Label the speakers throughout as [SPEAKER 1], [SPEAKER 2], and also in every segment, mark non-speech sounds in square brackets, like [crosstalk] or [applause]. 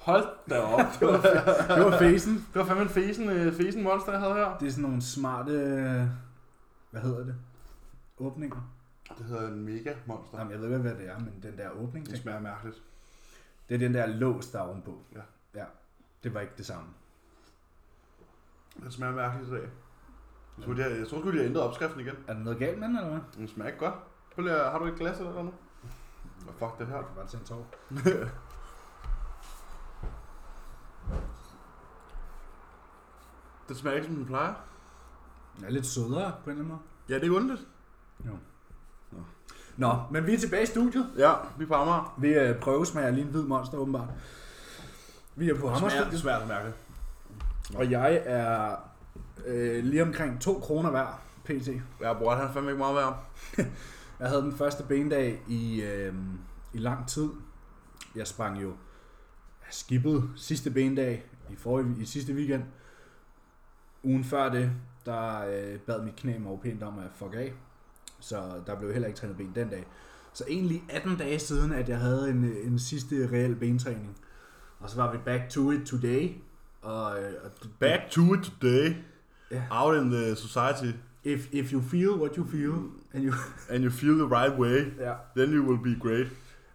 [SPEAKER 1] Hold da [laughs] op.
[SPEAKER 2] Det var facen.
[SPEAKER 1] Det var fandme en fesen, øh, fesen monster, jeg havde her.
[SPEAKER 2] Det er sådan nogle smarte... øh, Hvad hedder det? Åbninger.
[SPEAKER 1] Det hedder en mega monster.
[SPEAKER 2] Jamen, jeg ved ikke, hvad det er, men den der åbning.
[SPEAKER 1] Det
[SPEAKER 2] ting.
[SPEAKER 1] smager mærkeligt.
[SPEAKER 2] Det er den der lås, der er ovenpå.
[SPEAKER 1] Ja.
[SPEAKER 2] ja. Det var ikke det samme.
[SPEAKER 1] Det smager mærkeligt i dag. Jeg tror, de har, jeg tror sgu, de har ændret opskriften igen.
[SPEAKER 2] Er der noget galt med den, eller hvad?
[SPEAKER 1] Den smager ikke godt. Prøv lige, at- har du et glas eller noget? Hvad fuck det her?
[SPEAKER 2] Jeg kan bare tage en tår.
[SPEAKER 1] Det smager ikke, som den plejer.
[SPEAKER 2] Den er lidt sødere, på en eller anden måde.
[SPEAKER 1] Ja, det er ondt.
[SPEAKER 2] Jo. Nå. Nå, men vi er tilbage i studiet.
[SPEAKER 1] Ja, vi er på Amager.
[SPEAKER 2] Vi øh, prøvesmager lige en hvid monster, åbenbart. Vi er på Hammerstedet.
[SPEAKER 1] det smager mærkeligt.
[SPEAKER 2] Og jeg er øh, lige omkring 2 kroner hver pt.
[SPEAKER 1] Ja, bror, han er fandme ikke meget værd.
[SPEAKER 2] Jeg havde den første benedag i, øh, i lang tid. Jeg sprang jo jeg skippede sidste benedag i, forrige, i sidste weekend. Ugen før det, der øh, bad mit knæ mig jo pænt om at fuck af. Så der blev heller ikke trænet ben den dag. Så egentlig 18 dage siden, at jeg havde en, øh, en sidste reel bentræning. Og så var vi back to it today. Og, øh, og det-
[SPEAKER 1] Back to it today.
[SPEAKER 2] Ja.
[SPEAKER 1] Out in the society.
[SPEAKER 2] If, if you feel what you feel, and you...
[SPEAKER 1] And you feel the right way.
[SPEAKER 2] ja.
[SPEAKER 1] Then you will be great.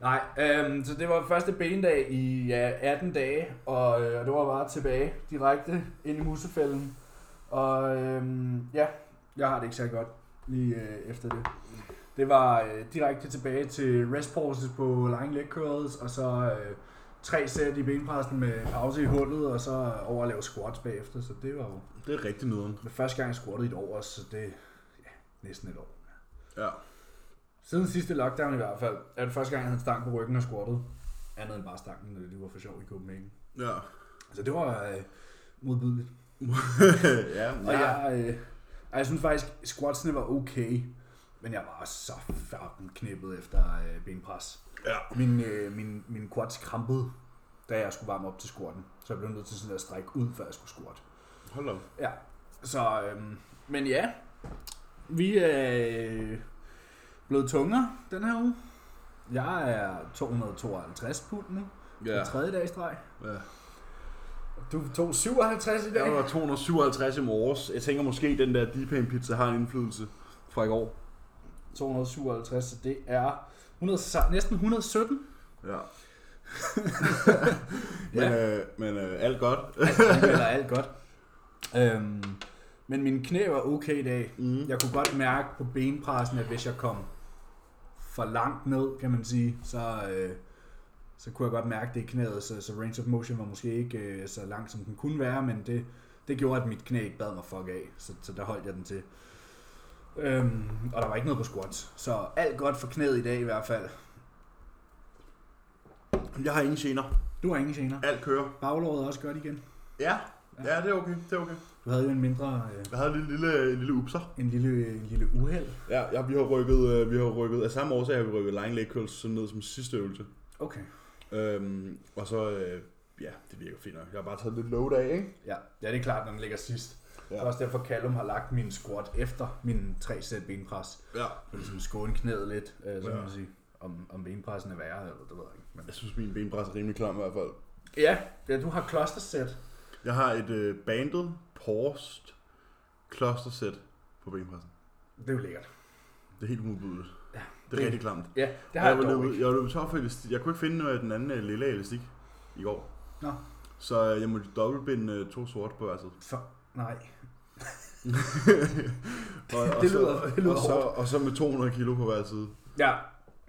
[SPEAKER 2] Nej, øhm, så det var første benedag i ja, 18 dage, og, øh, og det var bare tilbage direkte ind i musefælden. Og øhm, ja, jeg har det ikke så godt lige øh, efter det. Det var øh, direkte tilbage til rest pauses på lying leg curls, og så øh, tre sæt i benpressen med pause i hullet, og så over at lave squats bagefter, så det var jo
[SPEAKER 1] Det er rigtig nederen.
[SPEAKER 2] det første gang, jeg squattede i et år, så det ja, næsten et år.
[SPEAKER 1] Ja.
[SPEAKER 2] Siden sidste lockdown i hvert fald, er det første gang, jeg havde en stang på ryggen og squattet. Andet end bare stangen, når det lige var for sjov i Copenhagen.
[SPEAKER 1] Ja. [laughs]
[SPEAKER 2] Så det var øh, modbydeligt.
[SPEAKER 1] ja,
[SPEAKER 2] Og ja. jeg, øh, og jeg synes faktisk, squatsene var okay. Men jeg var så fucking knippet efter øh, benpres.
[SPEAKER 1] Ja.
[SPEAKER 2] Min, øh, min, min quads krampede, da jeg skulle varme op til squatten. Så jeg blev nødt til sådan at strække ud, før jeg skulle squatte.
[SPEAKER 1] Hold op.
[SPEAKER 2] Ja, så... Øhm, men ja, vi er øh, blevet tungere den her uge. Jeg er 252 pund nu, ja. den tredje dag i streg.
[SPEAKER 1] ja.
[SPEAKER 2] Du tog 57 i dag.
[SPEAKER 1] Jeg var 257 i morges. Jeg tænker måske, den der deep pan pizza har en indflydelse fra i går.
[SPEAKER 2] 257, så det er 100, næsten 117.
[SPEAKER 1] Ja. [laughs] men øh, men øh, alt godt.
[SPEAKER 2] Eller Altså, alt godt. Øhm, men mine knæ var okay i dag.
[SPEAKER 1] Mm.
[SPEAKER 2] Jeg kunne godt mærke på benpressen, at hvis jeg kom for langt ned, kan man sige, så, øh, så kunne jeg godt mærke det i knæet, så, så range of motion var måske ikke øh, så langt, som den kunne være, men det, det gjorde, at mit knæ ikke bad mig fuck af, så, så der holdt jeg den til. Øhm, og der var ikke noget på squats, så alt godt for knæet i dag i hvert fald.
[SPEAKER 1] Jeg har ingen gener.
[SPEAKER 2] Du har ingen gener.
[SPEAKER 1] Alt kører.
[SPEAKER 2] Baglåret er også godt igen.
[SPEAKER 1] Ja. Ja, det er okay. Det er okay.
[SPEAKER 2] Du havde jo en mindre, øh,
[SPEAKER 1] Jeg havde en lille, lille, en lille upser.
[SPEAKER 2] en lille, en lille uheld.
[SPEAKER 1] Ja, ja, vi har rykket, øh, vi har rykket, af samme årsag har vi rykket lying leg curls sådan ned som sidste øvelse.
[SPEAKER 2] Okay.
[SPEAKER 1] Øhm, og så, øh, ja, det virker fint nok. Jeg har bare taget lidt load af, ikke?
[SPEAKER 2] Ja, ja det er klart, når den ligger sidst.
[SPEAKER 1] Ja.
[SPEAKER 2] Ja. Det er også derfor, Callum har lagt min squat efter min 3 sæt benpres.
[SPEAKER 1] Ja.
[SPEAKER 2] For ligesom skåne knæet lidt, øh, så
[SPEAKER 1] Ja.
[SPEAKER 2] kan man sige. Om, om benpressen er værre, eller det ved jeg ikke. Men...
[SPEAKER 1] Jeg synes, min benpres er rimelig klam i hvert fald.
[SPEAKER 2] Ja, ja, du har cluster set.
[SPEAKER 1] Jeg har et øh, bandet Porst cluster set på benpressen.
[SPEAKER 2] Det er jo lækkert.
[SPEAKER 1] Det er helt modbydeligt.
[SPEAKER 2] Ja,
[SPEAKER 1] Det er rigtig klamt.
[SPEAKER 2] Ja, det
[SPEAKER 1] Og
[SPEAKER 2] har jeg,
[SPEAKER 1] var
[SPEAKER 2] jeg dog
[SPEAKER 1] løbet,
[SPEAKER 2] ikke.
[SPEAKER 1] jeg var løbet tør for elastik. Jeg kunne ikke finde øh, den anden øh, lille elastik i går.
[SPEAKER 2] Nå.
[SPEAKER 1] Så øh, jeg måtte dobbeltbinde øh, to sorte på hver side.
[SPEAKER 2] [laughs] For, nej.
[SPEAKER 1] Og, og
[SPEAKER 2] Det
[SPEAKER 1] så-
[SPEAKER 2] lyder- det lyder
[SPEAKER 1] og, så, og så med 200 kilo på hver side.
[SPEAKER 2] Ja,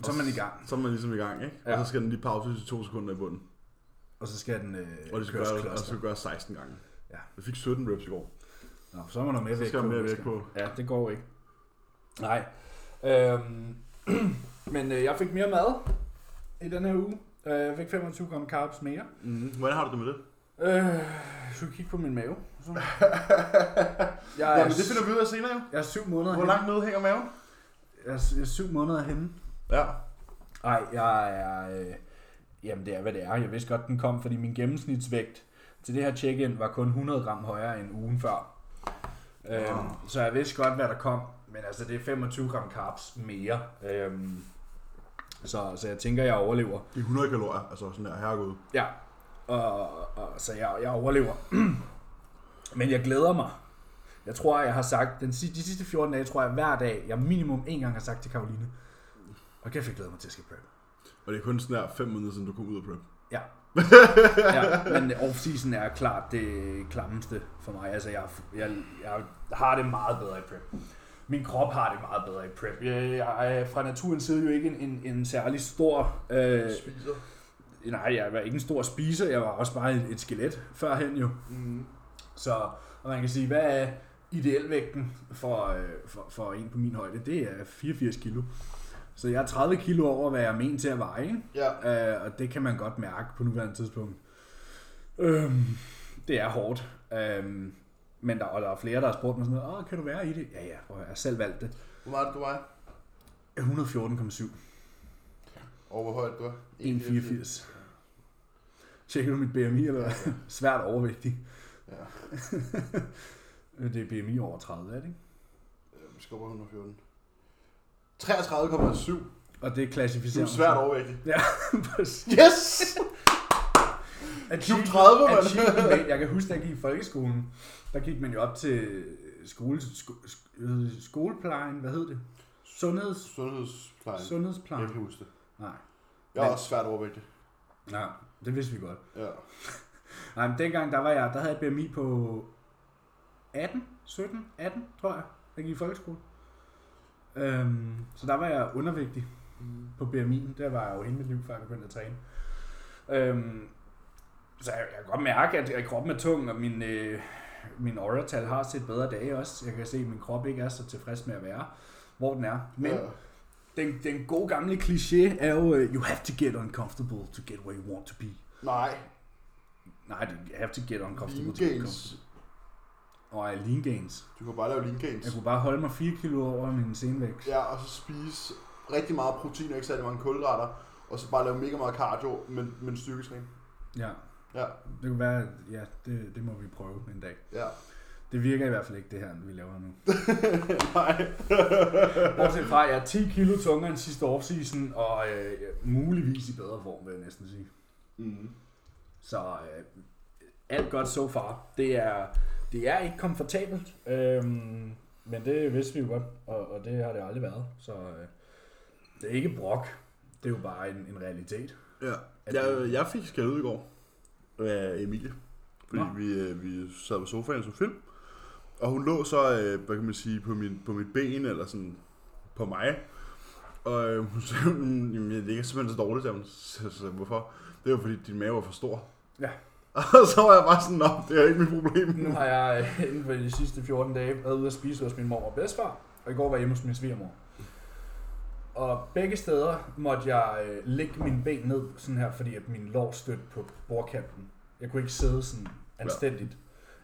[SPEAKER 2] så er man i gang.
[SPEAKER 1] Så er man ligesom i gang, ikke?
[SPEAKER 2] Ja.
[SPEAKER 1] Og så skal den lige pause i to sekunder i bunden.
[SPEAKER 2] Og så skal den
[SPEAKER 1] Og
[SPEAKER 2] øh,
[SPEAKER 1] det skal, altså-
[SPEAKER 2] køres
[SPEAKER 1] gøre, og det
[SPEAKER 2] cluster.
[SPEAKER 1] skal gøre 16 gange.
[SPEAKER 2] Ja.
[SPEAKER 1] Jeg fik 17 reps i går.
[SPEAKER 2] Nå, så er man noget mere
[SPEAKER 1] Så
[SPEAKER 2] væk
[SPEAKER 1] skal man mere væk
[SPEAKER 2] næste gang.
[SPEAKER 1] på.
[SPEAKER 2] Ja, det går ikke. Nej. Øhm, [clears throat] men øh, jeg fik mere mad i den her uge. Øh, Jeg fik 25 gram carbs mere.
[SPEAKER 1] Mm. Hvordan har du det med det?
[SPEAKER 2] Øh, skal vi kigge på min mave? Så.
[SPEAKER 1] [laughs]
[SPEAKER 2] Jeg
[SPEAKER 1] Ja,
[SPEAKER 2] er,
[SPEAKER 1] men det finder vi ud af senere jo.
[SPEAKER 2] jeg er syv måneder
[SPEAKER 1] Hvor
[SPEAKER 2] henne.
[SPEAKER 1] langt nede hænger maven?
[SPEAKER 2] Jeg er, jeg er syv måneder henne.
[SPEAKER 1] Ja.
[SPEAKER 2] Nej, jeg er... Øh, jamen, det er, hvad det er. Jeg vidste godt, den kom, fordi min gennemsnitsvægt til det her check-in var kun 100 gram højere end ugen før. Øhm,
[SPEAKER 1] Wow.
[SPEAKER 2] Så jeg vidste godt, hvad der kom. Men altså, det er 25 gram carbs mere. Øhm, Så, så jeg tænker, jeg overlever.
[SPEAKER 1] Det er 100 kalorier, altså sådan der, herregud.
[SPEAKER 2] Ja, og, og, så jeg, jeg overlever. [clears throat] Men jeg glæder mig. Jeg tror, jeg har sagt, den, si- de sidste 14 dage, tror jeg hver dag, jeg minimum en gang har sagt til Karoline, og kæft, jeg glæder mig til at skal prep.
[SPEAKER 1] Og det er kun sådan der 5 måneder siden, du kom ud af prep.
[SPEAKER 2] Ja. ja, men off-season er klart det klammeste for mig. Altså, jeg, jeg, jeg har det meget bedre i prep. Min krop har det meget bedre i prep. Jeg, jeg er fra naturens side jo ikke en, en, en særlig stor... Øh,
[SPEAKER 1] Spiser.
[SPEAKER 2] nej, jeg var ikke en stor spiser. Jeg var også bare et, et skelet førhen jo.
[SPEAKER 1] Mm.
[SPEAKER 2] Så og man kan sige, hvad er ideelvægten for, øh, for, for en på min højde? Det er 84 kilo. Så jeg er 30 kilo over, hvad jeg er ment til at veje. Ikke?
[SPEAKER 1] Ja.
[SPEAKER 2] Øh, og det kan man godt mærke på nuværende tidspunkt. Øhm, det er hårdt. Øhm, men der, og der er flere, der har spurgt mig sådan noget, Åh, kan du være i det? Ja, ja, og jeg har selv valgt det.
[SPEAKER 1] Hvor meget du vejer?
[SPEAKER 2] 114,7.
[SPEAKER 1] Og hvor højt du er?
[SPEAKER 2] 1,84. Tjekker du mit BMI, eller hvad? [laughs] Svært overvægtig.
[SPEAKER 1] Ja.
[SPEAKER 2] [laughs] Det er BMI over 30, er det ikke?
[SPEAKER 1] Øhm, Vi skubber 114. 33,7.
[SPEAKER 2] Og det
[SPEAKER 1] Du
[SPEAKER 2] klassificerer
[SPEAKER 1] er svært
[SPEAKER 2] [laughs]
[SPEAKER 1] overvægtig.
[SPEAKER 2] Ja, præcis.
[SPEAKER 1] Yes!
[SPEAKER 2] Achieve-
[SPEAKER 1] 30, mand. [laughs]
[SPEAKER 2] achievement. Jeg kan huske, da jeg gik i folkeskolen, der gik man jo op til øh, skole, sko, sk, øh, skoleplejen, hvad hed det? Sundheds,
[SPEAKER 1] Sundhedsplejen. Jeg
[SPEAKER 2] sundhedsplejen?
[SPEAKER 1] kan huske det.
[SPEAKER 2] Nej,
[SPEAKER 1] Jeg er
[SPEAKER 2] Men-
[SPEAKER 1] også svært overvægtig.
[SPEAKER 2] nej, det vidste vi godt.
[SPEAKER 1] Ja.
[SPEAKER 2] Nej, men dengang, der var jeg, der havde jeg BMI på 18, 17, 18, tror jeg, da jeg gik i folkeskole. Øhm, så der var jeg undervægtig. på BMI'en, der var jeg jo hele mit liv, før jeg begyndte at træne. Øhm, så jeg, jeg kan godt mærke, at, at kroppen er tung, og min, øh, min aura-tal har set bedre dage også. Jeg kan se, at min krop ikke er så tilfreds med at være, hvor den er. Men
[SPEAKER 1] Ja.
[SPEAKER 2] den, den gode gamle kliché er jo, øh, you have to get uncomfortable to get where you want to be.
[SPEAKER 1] Nej.
[SPEAKER 2] Nej, det you have to get uncomfortable
[SPEAKER 1] Lean
[SPEAKER 2] to get
[SPEAKER 1] gains.
[SPEAKER 2] comfortable. Og jeg er lean gains.
[SPEAKER 1] Du kan bare lave lean gains.
[SPEAKER 2] Jeg kunne bare holde mig 4 kilo over min senvægt.
[SPEAKER 1] Ja, og så spise rigtig meget protein og ikke særlig mange kulhydrater. Og så bare lave mega meget cardio, men, men styrketræning.
[SPEAKER 2] Ja.
[SPEAKER 1] Ja,
[SPEAKER 2] Det kan være, ja, det, det må vi prøve en dag.
[SPEAKER 1] ja. [laughs]
[SPEAKER 2] Det virker i hvert fald ikke, det her, vi laver nu.
[SPEAKER 1] Nej.
[SPEAKER 2] Bortset fra, at jeg er 10 kilo tungere end sidste offseason, og øh, muligvis i bedre form, vil jeg næsten sige.
[SPEAKER 1] mm.
[SPEAKER 2] Så øh, alt godt so far. Det er, det er ikke komfortabelt, øhm, men det vidste vi jo godt, og, og det har det aldrig været. Så øh, det er ikke brok, det er jo bare en, en realitet.
[SPEAKER 1] Ja,
[SPEAKER 2] At
[SPEAKER 1] jeg, jeg fik skæld ud i går af Emilie, fordi
[SPEAKER 2] Nå.
[SPEAKER 1] vi, øh, vi sad på sofaen og så film, og hun lå så, øh, hvad kan man sige, på, min, på mit ben, eller sådan på mig, og øh, hun sagde, [laughs] "Mm, jamen, jeg ligger simpelthen så dårligt, sagde hun. så, så, hvorfor? Det var fordi, din mave var for stor.
[SPEAKER 2] Ja.
[SPEAKER 1] [laughs] Og så var jeg bare sådan, "Nå, det er ikke mit problem.
[SPEAKER 2] Nu har jeg øh, [laughs] inden for de sidste 14 dage været ude at spise hos min mor og bedstefar, og i går var jeg hjemme hos min svigermor. Og begge steder måtte jeg øh, lægge mine ben ned sådan her, fordi at min lår stødte på bordkanten. Jeg kunne ikke sidde sådan anstændigt.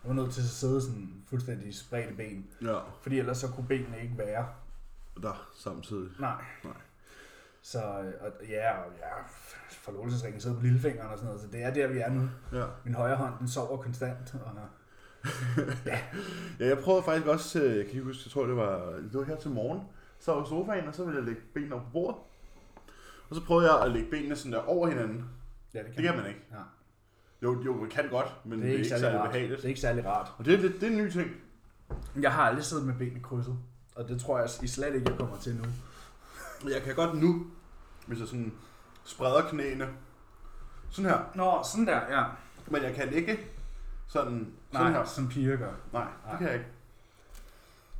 [SPEAKER 2] Jeg var nødt til at sidde sådan fuldstændig spredte ben,
[SPEAKER 1] Ja,
[SPEAKER 2] fordi ellers så kunne benene ikke være.
[SPEAKER 1] der samtidig.
[SPEAKER 2] Nej.
[SPEAKER 1] Nej.
[SPEAKER 2] Så øh, og, ja, og ja, forlovelsesringen sidder på lillefingeren og sådan noget, så det er der, vi er nu.
[SPEAKER 1] Ja.
[SPEAKER 2] Min højre hånd, den sover konstant, og
[SPEAKER 1] Ja, jeg prøvede faktisk også, øh, jeg kan ikke huske, jeg tror det var, det var her til morgen, så var jeg på sofaen, og så ville jeg lægge benene over på bordet. Og så prøvede jeg at lægge benene sådan der over hinanden.
[SPEAKER 2] ja, det
[SPEAKER 1] Det kan man ikke.
[SPEAKER 2] Nej.
[SPEAKER 1] Jo, jo, man kan godt, men det er, ikke særlig
[SPEAKER 2] rart.
[SPEAKER 1] behageligt.
[SPEAKER 2] Det er ikke særlig rart.
[SPEAKER 1] Og det er, det, det er en ny ting.
[SPEAKER 2] Jeg har aldrig siddet med benene krydset, og det tror jeg I slet ikke, jeg kommer til nu.
[SPEAKER 1] Jeg kan godt nu, hvis jeg sådan spreder knæene, sådan her.
[SPEAKER 2] Nå, sådan der, ja.
[SPEAKER 1] Men jeg kan ikke sådan,
[SPEAKER 2] Nej,
[SPEAKER 1] sådan her.
[SPEAKER 2] som piger gør.
[SPEAKER 1] Nej,
[SPEAKER 2] Nej.
[SPEAKER 1] det kan jeg ikke.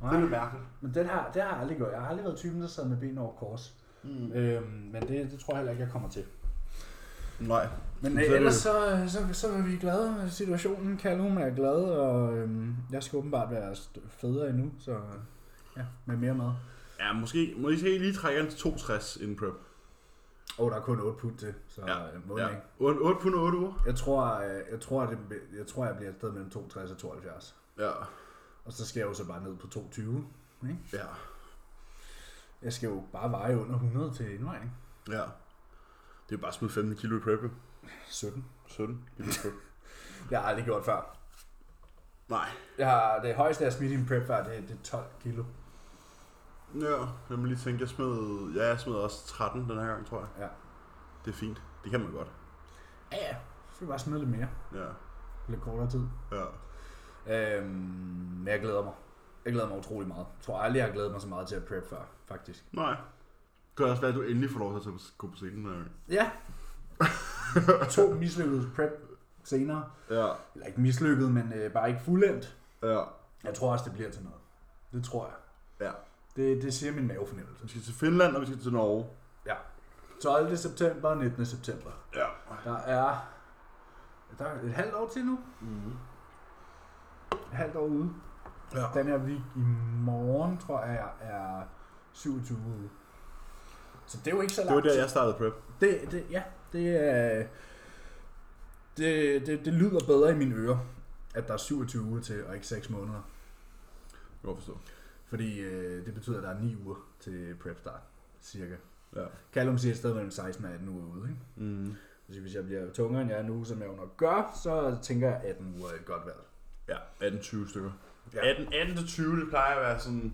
[SPEAKER 1] Det er
[SPEAKER 2] Nej.
[SPEAKER 1] lidt mærkeligt.
[SPEAKER 2] Men den her, det har jeg aldrig gjort. Jeg har aldrig været typen, der sad med benene over kors.
[SPEAKER 1] Mm.
[SPEAKER 2] Øhm, men det, det tror jeg heller ikke, jeg kommer til.
[SPEAKER 1] Nej.
[SPEAKER 2] Men
[SPEAKER 1] Så
[SPEAKER 2] øh,
[SPEAKER 1] er det-
[SPEAKER 2] ellers så, så, så er vi glade. med Situationen kan hun er glad, og øhm, jeg skal åbenbart være st- federe endnu, så øh, ja, med mere mad.
[SPEAKER 1] Ja, måske, måske lige trække den til 62 inden prep.
[SPEAKER 2] Og der er kun 8 pund til, så
[SPEAKER 1] Ja,
[SPEAKER 2] øh, må den ikke.
[SPEAKER 1] 8 pund 8 uger.
[SPEAKER 2] Jeg tror, øh, jeg, tror, at det, jeg tror, jeg bliver et sted mellem 62 og 72.
[SPEAKER 1] Ja.
[SPEAKER 2] Og så skal jeg jo så bare ned på 22.
[SPEAKER 1] Ja.
[SPEAKER 2] Jeg skal jo bare veje under 100 til indvejning.
[SPEAKER 1] Ja. Det er bare smidt 15 kilo i prep, jo.
[SPEAKER 2] 17.
[SPEAKER 1] 17 kilo i prep.
[SPEAKER 2] Jeg har aldrig gjort før.
[SPEAKER 1] [laughs] Nej.
[SPEAKER 2] Jeg har, det højeste, jeg har smidt i en prep før, det, det er 12 kilo.
[SPEAKER 1] Ja, jeg må lige tænke, jeg smed, ja, jeg smed også 13 den her gang, tror jeg.
[SPEAKER 2] Ja.
[SPEAKER 1] Det er fint. Det kan man godt.
[SPEAKER 2] Ja, ja. Så skal vi bare smide lidt mere.
[SPEAKER 1] Ja,
[SPEAKER 2] Lidt kortere tid.
[SPEAKER 1] ja.
[SPEAKER 2] Øhm, men jeg glæder mig. Jeg glæder mig utrolig meget. Jeg tror aldrig, jeg har glædet mig så meget til at prep før, faktisk.
[SPEAKER 1] Nej. Det kan også være, at du endelig får lov til at tage- gå på scenen. den her gang.
[SPEAKER 2] Ja. [laughs] to mislykkede prep senere.
[SPEAKER 1] Ja,
[SPEAKER 2] Eller ikke mislykket, men øh, bare ikke fuldendt.
[SPEAKER 1] ja.
[SPEAKER 2] Jeg tror også, det bliver til noget. Det tror jeg.
[SPEAKER 1] Ja.
[SPEAKER 2] Det, det siger min
[SPEAKER 1] Vi
[SPEAKER 2] mavefornemmelse.
[SPEAKER 1] skal til Finland, og vi skal til Norge.
[SPEAKER 2] Ja. 12. september og 19. september.
[SPEAKER 1] Ja.
[SPEAKER 2] Der er, der er et halvt år til nu.
[SPEAKER 1] Mm.
[SPEAKER 2] Et halvt år ude.
[SPEAKER 1] Ja.
[SPEAKER 2] Den her week i morgen, tror jeg, er 27 ude. Så det er jo ikke så langt.
[SPEAKER 1] Det var der, jeg startede prep.
[SPEAKER 2] Det, det, ja, det er... Det, det, det lyder bedre i mine ører, at der er 27 uger til, og ikke 6 måneder.
[SPEAKER 1] Jeg kan godt forstå.
[SPEAKER 2] Fordi øh, det betyder, at der er 9 uger til prep start, cirka.
[SPEAKER 1] Ja.
[SPEAKER 2] Callum siger et sted mellem 16 og 18 uger ude, ikke?
[SPEAKER 1] Mm.
[SPEAKER 2] Så hvis jeg bliver tungere, end jeg er nu, som jeg jo nok gør, så tænker jeg, at 18 uger er et godt valg.
[SPEAKER 1] Ja, 18-20 stykker.
[SPEAKER 2] Ja.
[SPEAKER 1] 18, 18 til 20, det plejer at være sådan...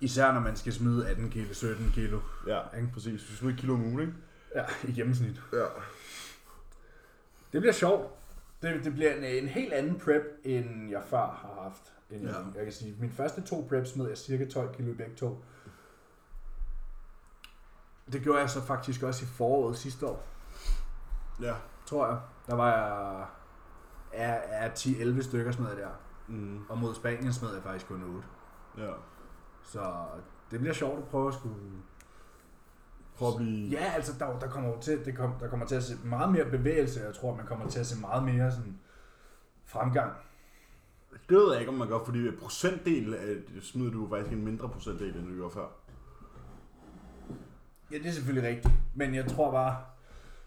[SPEAKER 2] Især når man skal smide 18 kilo, 17 kilo.
[SPEAKER 1] Ja, ikke? præcis. Hvis du smider et kilo om ugen, ikke?
[SPEAKER 2] Ja, i gennemsnit.
[SPEAKER 1] Ja.
[SPEAKER 2] Det bliver sjovt. Det, det bliver en, en helt anden prep, end jeg før har haft. End ja.
[SPEAKER 1] Ja.
[SPEAKER 2] jeg, jeg kan sige, mine første to preps smed jeg cirka 12 kilo i begge to. Det gjorde jeg så faktisk også i foråret sidste år,
[SPEAKER 1] Ja.
[SPEAKER 2] tror jeg. Der var jeg er, er 10-11 stykker smed jeg der.
[SPEAKER 1] Mm.
[SPEAKER 2] Og mod Spanien smed jeg faktisk kun 8.
[SPEAKER 1] Ja.
[SPEAKER 2] Så det bliver sjovt at prøve at skulle...
[SPEAKER 1] Prøv at blive...
[SPEAKER 2] Ja, altså der, der, kommer, jo til, det kom, der kommer til at se meget mere bevægelse. Jeg tror, man kommer til at se meget mere sådan fremgang.
[SPEAKER 1] Det ved jeg ikke, om man gør, fordi procentdel af det smider du faktisk en mindre procentdel, end du gjorde før.
[SPEAKER 2] Ja, det er selvfølgelig rigtigt. Men jeg tror bare,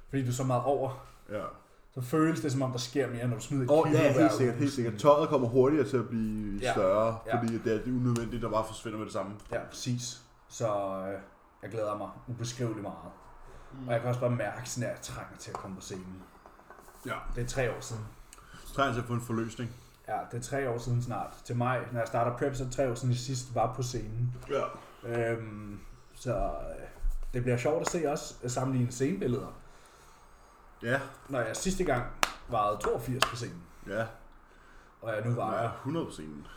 [SPEAKER 2] fordi du er så meget over,
[SPEAKER 1] Ja.
[SPEAKER 2] så føles det som om, der sker mere, når du smider et
[SPEAKER 1] Og
[SPEAKER 2] kilo
[SPEAKER 1] ja,
[SPEAKER 2] hver
[SPEAKER 1] helt
[SPEAKER 2] uge.
[SPEAKER 1] sikkert, helt sikkert. Tøjet kommer hurtigere til at blive
[SPEAKER 2] Ja.
[SPEAKER 1] ja. større,
[SPEAKER 2] Ja.
[SPEAKER 1] fordi det er det unødvendige, der bare forsvinder med det samme.
[SPEAKER 2] Ja, præcis. Så øh, jeg glæder mig ubeskriveligt meget. Mm. Og jeg kan også bare mærke, sådan, at jeg trænger til at komme på scenen.
[SPEAKER 1] Ja.
[SPEAKER 2] Det er tre år siden.
[SPEAKER 1] Så trænger jeg til at få en forløsning.
[SPEAKER 2] Ja, det er tre år siden snart. Til mig, når jeg starter prep, så er det tre år siden, jeg sidst var på scenen.
[SPEAKER 1] Ja.
[SPEAKER 2] Øhm, så øh, det bliver sjovt at se også at sammenligne scenebilleder.
[SPEAKER 1] Ja.
[SPEAKER 2] Når jeg sidste gang vejede 82 på scenen,
[SPEAKER 1] Ja.
[SPEAKER 2] og jeg nu
[SPEAKER 1] Der er
[SPEAKER 2] vejer,
[SPEAKER 1] 100 på scenen.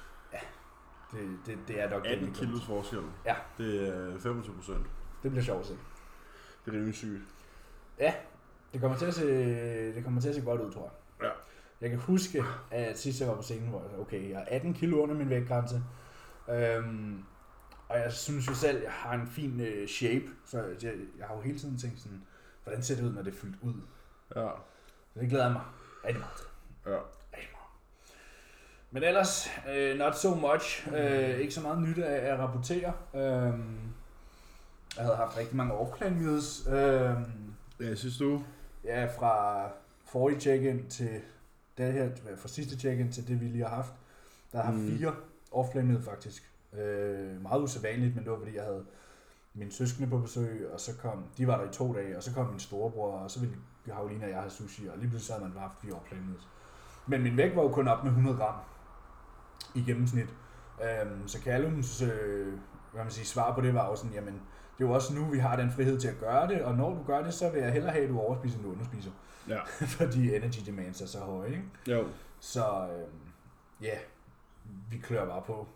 [SPEAKER 2] det, det, det er nok det,
[SPEAKER 1] 18
[SPEAKER 2] det-
[SPEAKER 1] kilos forskel.
[SPEAKER 2] Ja.
[SPEAKER 1] Det er 25 procent.
[SPEAKER 2] Det bliver sjovt at se.
[SPEAKER 1] Det er rimelig sygt.
[SPEAKER 2] Det kommer til at se, det kommer til at se godt ud, tror jeg.
[SPEAKER 1] Ja.
[SPEAKER 2] Jeg kan huske, at sidst jeg var på scenen, hvor jeg sagde, okay, jeg er 18 kilo under min vægtgrænse. Øhm, og jeg synes jo selv, jeg har en fin øh, shape, så jeg, jeg har jo hele tiden tænkt sådan, hvordan ser det ud, når det er fyldt ud?
[SPEAKER 1] Ja.
[SPEAKER 2] Så det glæder jeg mig rigtig meget til.
[SPEAKER 1] Ja.
[SPEAKER 2] Rigtig meget. Men ellers, øh, not so much. Øh, ikke så meget nyt at, at rapportere. Øhm, jeg havde haft rigtig mange off-plan meals. Øhm,
[SPEAKER 1] Ja, synes du?
[SPEAKER 2] Ja, fra forrige check-in til det her, fra sidste check-in til det, vi lige har haft, der har mm.
[SPEAKER 1] Mm.
[SPEAKER 2] fire offline faktisk. Øh, meget usædvanligt, men det var fordi, jeg havde mine søskende på besøg, og så kom, de var der i to dage, og så kom min storebror, og så ville Karoline og jeg have sushi, og lige pludselig så havde man bare haft fire offline Men min vægt var jo kun op med 100 gram i gennemsnit. Øhm, så Callums øh, hvad man siger, svar på det var jo sådan, jamen, det er jo også nu, vi har den frihed til at gøre det, og når du gør det, så vil jeg hellere have, at du overspiser, end du underspiser.
[SPEAKER 1] Ja.
[SPEAKER 2] [laughs] Fordi energy demands er så høje, ikke?
[SPEAKER 1] Jo.
[SPEAKER 2] Så øhm, ja, vi klør bare på.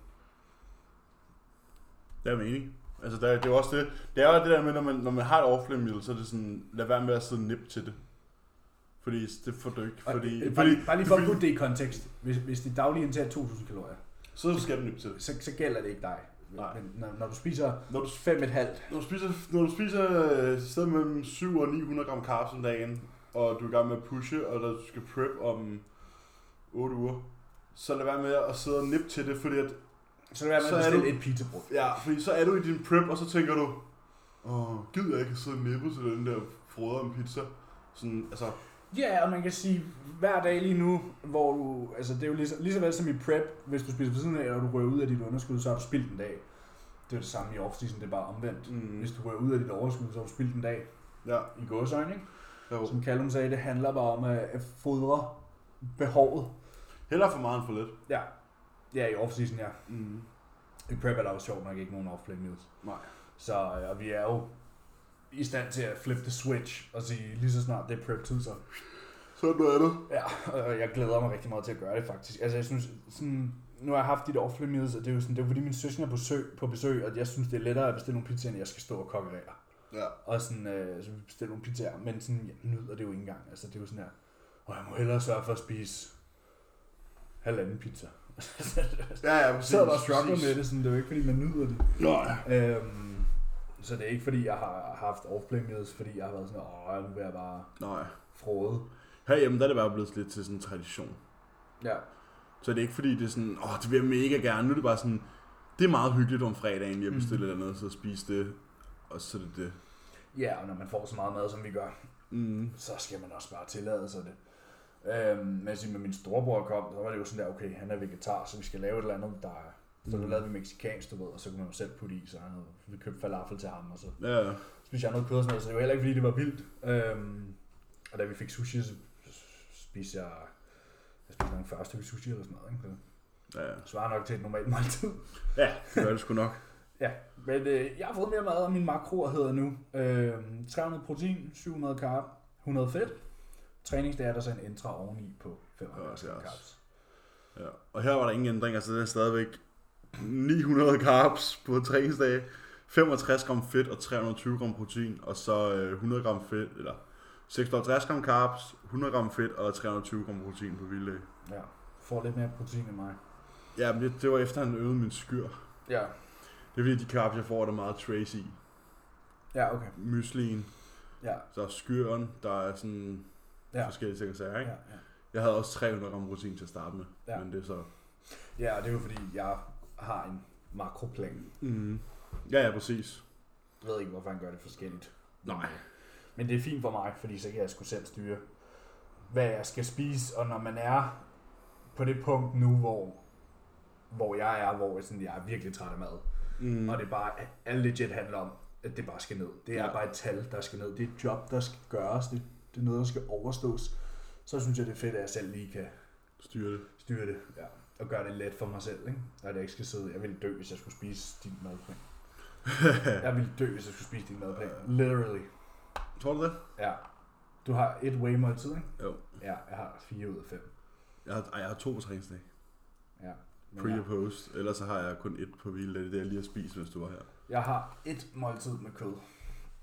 [SPEAKER 1] Det er mening. Altså, der, det er jo også det. Det er jo det der med, når man, når man har et overflame meal, så er det sådan, lad være med at sidde nip til det. Fordi det får du ikke.
[SPEAKER 2] Og,
[SPEAKER 1] Fordi,
[SPEAKER 2] øh, bare,
[SPEAKER 1] fordi,
[SPEAKER 2] lige, bare lige for at putte det i kontekst. Hvis, hvis det daglige indtager 2000 kalorier,
[SPEAKER 1] så skal du nip til det.
[SPEAKER 2] så, så gælder det ikke dig.
[SPEAKER 1] Nej.
[SPEAKER 2] Men når, når du spiser
[SPEAKER 1] Når du,
[SPEAKER 2] 5,5,
[SPEAKER 1] når du spiser, når du spiser øh, et sted mellem 7 og 900 gram carbs om dagen, og du er i gang med at pushe, og der- du skal prep om 8 uger, så lad være med at sidde og nip til det, fordi at
[SPEAKER 2] så er det værd
[SPEAKER 1] Så
[SPEAKER 2] med
[SPEAKER 1] er
[SPEAKER 2] at bestille
[SPEAKER 1] du-
[SPEAKER 2] et pizzabrød.
[SPEAKER 1] Ja, fordi så er du i din prep, og så tænker du, åh, gider jeg ikke at sidde og nippe til den der frøder om pizza? Sådan, altså,
[SPEAKER 2] Ja, og man kan sige, hver dag lige nu, hvor du, altså det er jo lige, så- lige så vel som i prep, hvis du spiser ved siden af, og du rører ud af dit underskud, så har du spildt en dag. Det er jo det samme i off-season, det er bare omvendt. Mm.
[SPEAKER 1] mm,
[SPEAKER 2] Hvis du rører ud af dit overskud, så har du spildt en dag
[SPEAKER 1] ja,
[SPEAKER 2] i gåsøjne, ikke?
[SPEAKER 1] jo.
[SPEAKER 2] Som Callum sagde, det handler bare om at at fodre behovet.
[SPEAKER 1] Heller for meget end for lidt.
[SPEAKER 2] Ja. Ja, i off-season, ja.
[SPEAKER 1] Mm.
[SPEAKER 2] I prep er der jo sjovt nok ikke nogen off-play meals.
[SPEAKER 1] Nej.
[SPEAKER 2] Så, øh, og vi er jo i stand til at flip the switch og sige, lige så snart det er prep tid, så
[SPEAKER 1] Så er det noget andet.
[SPEAKER 2] Ja, og jeg glæder mig rigtig meget til at gøre det faktisk. Altså jeg synes, sådan, nu har jeg haft de der offentlige middags, og det er jo sådan, det er jo fordi min søster er på, sø, på besøg, og jeg synes, det er lettere at bestille nogle pizzaer, end jeg skal stå og konkurrere.
[SPEAKER 1] Ja.
[SPEAKER 2] Og sådan, øh, så vi bestiller nogle pizzaer, men sådan, jeg nyder det jo ikke engang. Altså det er jo sådan her, og jeg må hellere sørge for at spise halvanden pizza.
[SPEAKER 1] Ja, ja, præcis.
[SPEAKER 2] så er der struggle med det, sådan, det er jo ikke fordi, man nyder det.
[SPEAKER 1] Nej.
[SPEAKER 2] Øhm, så det er ikke fordi, jeg har haft off-play meals, fordi jeg har været sådan, åh, nu vil jeg bare
[SPEAKER 1] Nej.
[SPEAKER 2] frode.
[SPEAKER 1] Herhjemme, der er det bare blevet lidt til sådan en tradition.
[SPEAKER 2] Ja,
[SPEAKER 1] Så det er ikke fordi, det er sådan, åh, det vil jeg mega gerne. Nu er det bare sådan, det er meget hyggeligt om fredagen lige at bestille mm. et eller andet, så spise det, og så er det det.
[SPEAKER 2] ja og når man får så meget mad, som vi gør,
[SPEAKER 1] Mm.
[SPEAKER 2] så skal man også bare tillade sig det. Øhm, men jeg siger, med min storebror kom, så var det jo sådan der, okay, han er vegetar, så vi skal lave et eller andet, der er. Så mm.
[SPEAKER 1] Mm.
[SPEAKER 2] lavede vi mexicansk, du ved, og så kunne man jo selv putte i, så han havde, vi købte falafel til ham, og så
[SPEAKER 1] Ja, ja.
[SPEAKER 2] spiste jeg noget kød og sådan noget, så det var heller ikke, fordi det var vildt. Øhm, og da vi fik sushi, så spiste jeg, jeg spiste nogle 40 stykker sushi eller sådan noget, ikke?
[SPEAKER 1] ja.
[SPEAKER 2] Det svarer nok til et normalt måltid.
[SPEAKER 1] Ja, det gør det sgu nok.
[SPEAKER 2] Ja, men øh, jeg har fået mere mad, og mine makroer hedder nu øh, 300 protein, 700 carb, 100 fedt. Træningsdag er der så en intra oveni på 75
[SPEAKER 1] Ja, det er
[SPEAKER 2] carbs.
[SPEAKER 1] Ja. Og her var der ingen ændringer, så det er stadigvæk 900 carbs på træningsdage, 65 gram fedt og 320 gram protein, og så øh, 100 gram fedt, eller 650 gram carbs, 100 gram fedt og 320 gram protein på vilde.
[SPEAKER 2] Ja, får lidt mere protein end mig.
[SPEAKER 1] Ja, men det, det var efter, han øvede min skyr.
[SPEAKER 2] Ja.
[SPEAKER 1] Det er fordi, de carbs, jeg får, er der meget trace i.
[SPEAKER 2] Ja, okay.
[SPEAKER 1] Myslien,
[SPEAKER 2] Ja,
[SPEAKER 1] der er skyren, der er sådan
[SPEAKER 2] ja.
[SPEAKER 1] ja. forskellige ting og sager,
[SPEAKER 2] Ja,
[SPEAKER 1] ikke?
[SPEAKER 2] ja.
[SPEAKER 1] Jeg havde også 300 gram protein til at starte med,
[SPEAKER 2] Ja.
[SPEAKER 1] ja. men det er så...
[SPEAKER 2] ja, og det er jo fordi, jeg har en makroplan.
[SPEAKER 1] Mm. Ja, ja, præcis.
[SPEAKER 2] Jeg ved ikke, hvorfor han gør det forskelligt.
[SPEAKER 1] Nej.
[SPEAKER 2] Men det er fint for mig, fordi så kan jeg sgu selv styre, hvad jeg skal spise, og når man er på det punkt nu, hvor, hvor jeg er, hvor jeg, sådan, jeg er virkelig træt af mad,
[SPEAKER 1] Mm.
[SPEAKER 2] og det er bare, alt legit handler om, at det bare skal ned. Det er
[SPEAKER 1] Ja.
[SPEAKER 2] bare et tal, der skal ned. Det er et job, der skal gøres. Det, det er noget, der skal overstås. Så synes jeg, det er fedt, at jeg selv lige kan
[SPEAKER 1] Styre det.
[SPEAKER 2] styre det. Ja. Og gøre det let for mig selv, ikke? Og at jeg ikke skal sidde... Jeg ville dø, hvis jeg skulle spise din [laughs] madplan. jeg ville dø, hvis jeg skulle spise din madplan. Literally.
[SPEAKER 1] Tror du det?
[SPEAKER 2] Ja. Du har et way måltid, ikke?
[SPEAKER 1] Jo.
[SPEAKER 2] Ja, jeg har fire ud af fem.
[SPEAKER 1] Jeg har, ej, jeg har to på træningsdag.
[SPEAKER 2] Ja. Men
[SPEAKER 1] Pre
[SPEAKER 2] jeg,
[SPEAKER 1] og post. Ellers så har jeg kun et på hvile. Det er det, jeg lige har spist, mens du var her.
[SPEAKER 2] jeg har et måltid med kød.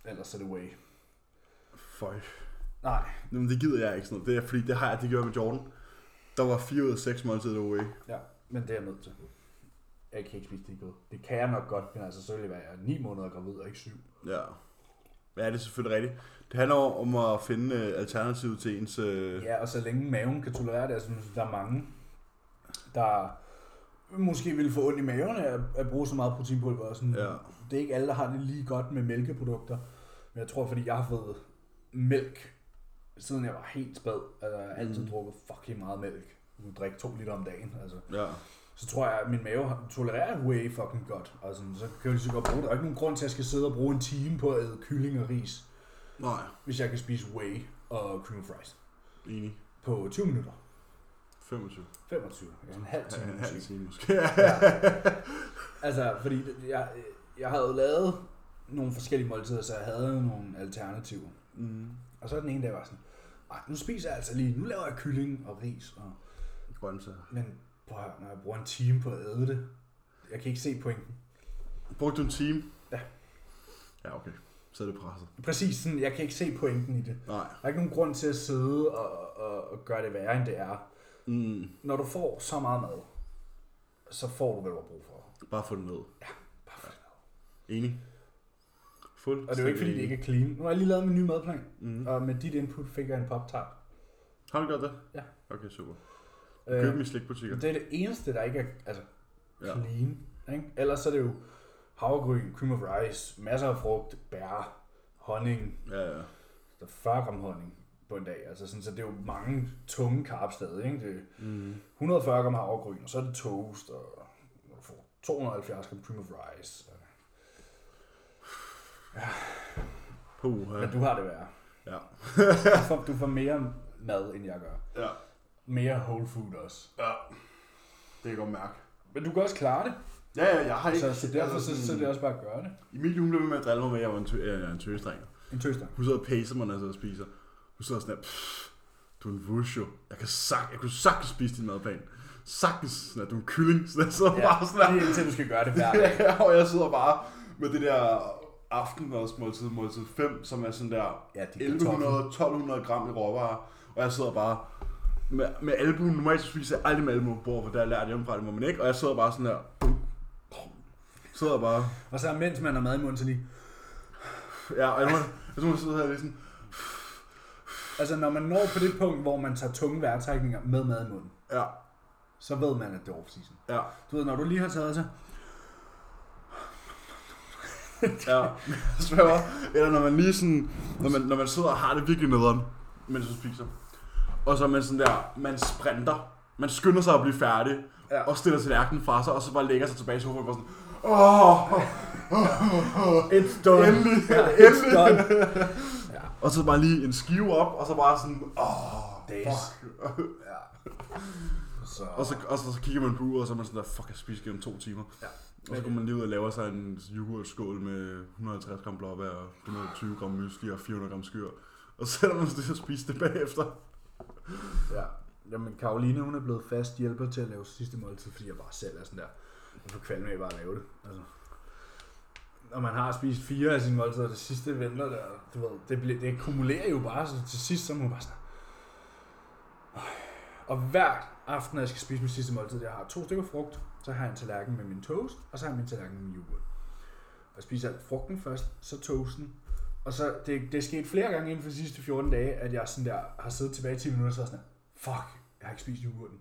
[SPEAKER 2] Ellers er det way.
[SPEAKER 1] Føj.
[SPEAKER 2] Nej,
[SPEAKER 1] Nå, men det gider jeg ikke sådan noget. Det er fordi, det har jeg, det gjorde jeg med Jordan. Der var 4 ud af 6 måltider away.
[SPEAKER 2] Ja, men det er jeg nødt til. Jeg kan ikke spise det kød. Det kan jeg nok godt, men altså selvfølgelig være jeg er 9 måneder gravid og ikke 7.
[SPEAKER 1] Ja. Ja, det er selvfølgelig rigtigt. Det handler om at finde øh, alternativet til ens... Øh,
[SPEAKER 2] Ja, og så længe maven kan tolerere det, altså der er mange, der måske ville få ondt i maven af at- at bruge så meget proteinpulver. Og sådan.
[SPEAKER 1] Ja.
[SPEAKER 2] Det er ikke alle, der har det lige godt med mælkeprodukter. Men jeg tror, fordi jeg har fået mælk, siden jeg var helt spæd, altså jeg har altid mm. drukket fucking meget mælk. Jeg kunne drikke to liter om dagen, altså.
[SPEAKER 1] ja.
[SPEAKER 2] så tror jeg, at min mave har- tolererer whey fucking godt. Og sådan, så kan jeg lige så godt bruge det. Der er ikke nogen grund til, at jeg skal sidde og bruge en time på at æde kylling og ris,
[SPEAKER 1] Nej.
[SPEAKER 2] hvis jeg kan spise whey og cream fries
[SPEAKER 1] Enig.
[SPEAKER 2] på 20 minutter.
[SPEAKER 1] 25.
[SPEAKER 2] 25, altså en halv
[SPEAKER 1] Ja,
[SPEAKER 2] time
[SPEAKER 1] en halv
[SPEAKER 2] måske.
[SPEAKER 1] time måske. Ja. [laughs]
[SPEAKER 2] Altså, fordi det- jeg, jeg havde lavet nogle forskellige måltider, så jeg havde nogle alternativer.
[SPEAKER 1] Mm.
[SPEAKER 2] Og så den ene dag var jeg sådan, "Ej, nu spiser jeg altså lige, nu laver jeg kylling og ris. Og,
[SPEAKER 1] Grøntsager.
[SPEAKER 2] men prøv at høre, når jeg bruger en time på at æde det, jeg kan ikke se pointen.
[SPEAKER 1] Brugte du en time?
[SPEAKER 2] Ja.
[SPEAKER 1] Ja, okay. Så er det presset.
[SPEAKER 2] Præcis sådan, jeg kan ikke se pointen i det.
[SPEAKER 1] Nej.
[SPEAKER 2] Der er ikke nogen grund til at sidde og, og, og gøre det værre, end det er.
[SPEAKER 1] Mm.
[SPEAKER 2] Når du får så meget mad, så får du, hvad du har brug for.
[SPEAKER 1] Bare få det ned.
[SPEAKER 2] Bare få det mad.
[SPEAKER 1] Enig. Fuld.
[SPEAKER 2] Og det er jo ikke, fordi det ikke er clean. Nu har jeg lige lavet min nye madplan, mm. og med dit input fik jeg en pop-tart.
[SPEAKER 1] Har du gjort det?
[SPEAKER 2] Ja.
[SPEAKER 1] Okay, super.
[SPEAKER 2] Øh,
[SPEAKER 1] Køb dem i slikbutikker.
[SPEAKER 2] det er det eneste, der ikke er altså,
[SPEAKER 1] Ja.
[SPEAKER 2] clean. Ikke? Ellers så er det jo havregryn, cream of rice, masser af frugt, bær, honning.
[SPEAKER 1] Ja, ja.
[SPEAKER 2] Der er 40 gram honning på en dag. Altså sådan, så det er jo mange tunge karp stadig. Ikke? Det,
[SPEAKER 1] Mm.
[SPEAKER 2] 140 gram havregryn, og så er det toast, og du får 270 gram cream of rice.
[SPEAKER 1] Puh,
[SPEAKER 2] Men du har det værre.
[SPEAKER 1] Ja.
[SPEAKER 2] [laughs] Du får, du får mere mad, end jeg gør.
[SPEAKER 1] ja.
[SPEAKER 2] Mere whole food også.
[SPEAKER 1] Ja. Det kan jeg godt mærke.
[SPEAKER 2] Men du kan også klare det.
[SPEAKER 1] Ja, ja, jeg har Mm. ikke...
[SPEAKER 2] Så, så derfor
[SPEAKER 1] altså
[SPEAKER 2] så, så er det også bare at gøre det.
[SPEAKER 1] Emilie, hun blev ved med at drille mig med, at jeg var en, tø- øh, jeg er en tøsdreng.
[SPEAKER 2] En tøster.
[SPEAKER 1] Hun sidder og pacer mig, når jeg sidder og spiser. Hun sidder sådan her, "Pff, du er en vulsjo. Jeg, kan sag- jeg kunne sagtens spise din madplan. Sagtens, sådan her, du er en kylling. Så jeg sidder ja. bare sådan her.
[SPEAKER 2] det er indtil du skal gøre det hver [laughs] dag.
[SPEAKER 1] [laughs] Ja, og jeg sidder bare med det der aftenmadsmåltid, måltid 5, som er sådan der
[SPEAKER 2] Ja, de kartofler.
[SPEAKER 1] 1100-1200 gram i råvarer, og jeg sidder bare med, med albuen. Normalt så spiser jeg aldrig med albuen på bord, for der har jeg lært hjemmefra, det må man ikke, og jeg sidder bare sådan der, sidder bare,
[SPEAKER 2] Og så mens man har mad i munden, så lige...
[SPEAKER 1] ja, og jeg må, jeg må sidde her og lige sådan,
[SPEAKER 2] Altså når man når på det punkt, hvor man tager tunge vejrtrækninger med mad i munden,
[SPEAKER 1] ja,
[SPEAKER 2] så ved man, at det er off-season.
[SPEAKER 1] ja,
[SPEAKER 2] Du ved, når du lige har taget sig,
[SPEAKER 1] [laughs] ja, svæver. Eller når man lige sådan, når man, når man sidder og har det virkelig nederen, mens man spiser. Og så er man sådan der, man sprinter, man skynder sig at blive færdig,
[SPEAKER 2] Ja.
[SPEAKER 1] ja. og stiller tallerkenen fra sig, og så bare lægger sig tilbage i sofaen og bare sådan, åh, oh,
[SPEAKER 2] it's done.
[SPEAKER 1] endelig,
[SPEAKER 2] Ja, it's
[SPEAKER 1] endelig.
[SPEAKER 2] done.
[SPEAKER 1] Og så bare lige en skive op, og så bare sådan, åh, oh,
[SPEAKER 2] Days.
[SPEAKER 1] fuck.
[SPEAKER 2] [laughs] Ja. Så...
[SPEAKER 1] Og så, og så, så kigger man på uret, og så er man sådan der, fuck, jeg spiser gennem to timer.
[SPEAKER 2] Ja.
[SPEAKER 1] Og så går man lige ud og laver sig en yoghurtskål med 150 gram blåbær, og 120 gram mysli og 400 gram skyr. Og så sætter man sig til at spise det bagefter.
[SPEAKER 2] Ja. Jamen, Karoline, hun er blevet fast hjælper til at lave sidste måltid, fordi jeg bare selv er sådan der. Jeg får kvalme af bare at lave det. Altså. Når man har spist fire af sine måltider, og det sidste venter der, du ved, det, bliver, det kumulerer jo bare, så til sidst så må man bare sådan, "Øj." og hver aften, når jeg skal spise min sidste måltid, jeg har to stykker frugt, så har jeg en tallerken med min toast, og så har jeg min tallerken med min yoghurt. Og jeg spiser alt frugten først, så toasten, og så, det, det er sket flere gange inden for de sidste 14 dage, at jeg sådan der har siddet tilbage i 10 minutter og så er jeg sådan der, fuck, jeg har ikke spist yoghurten.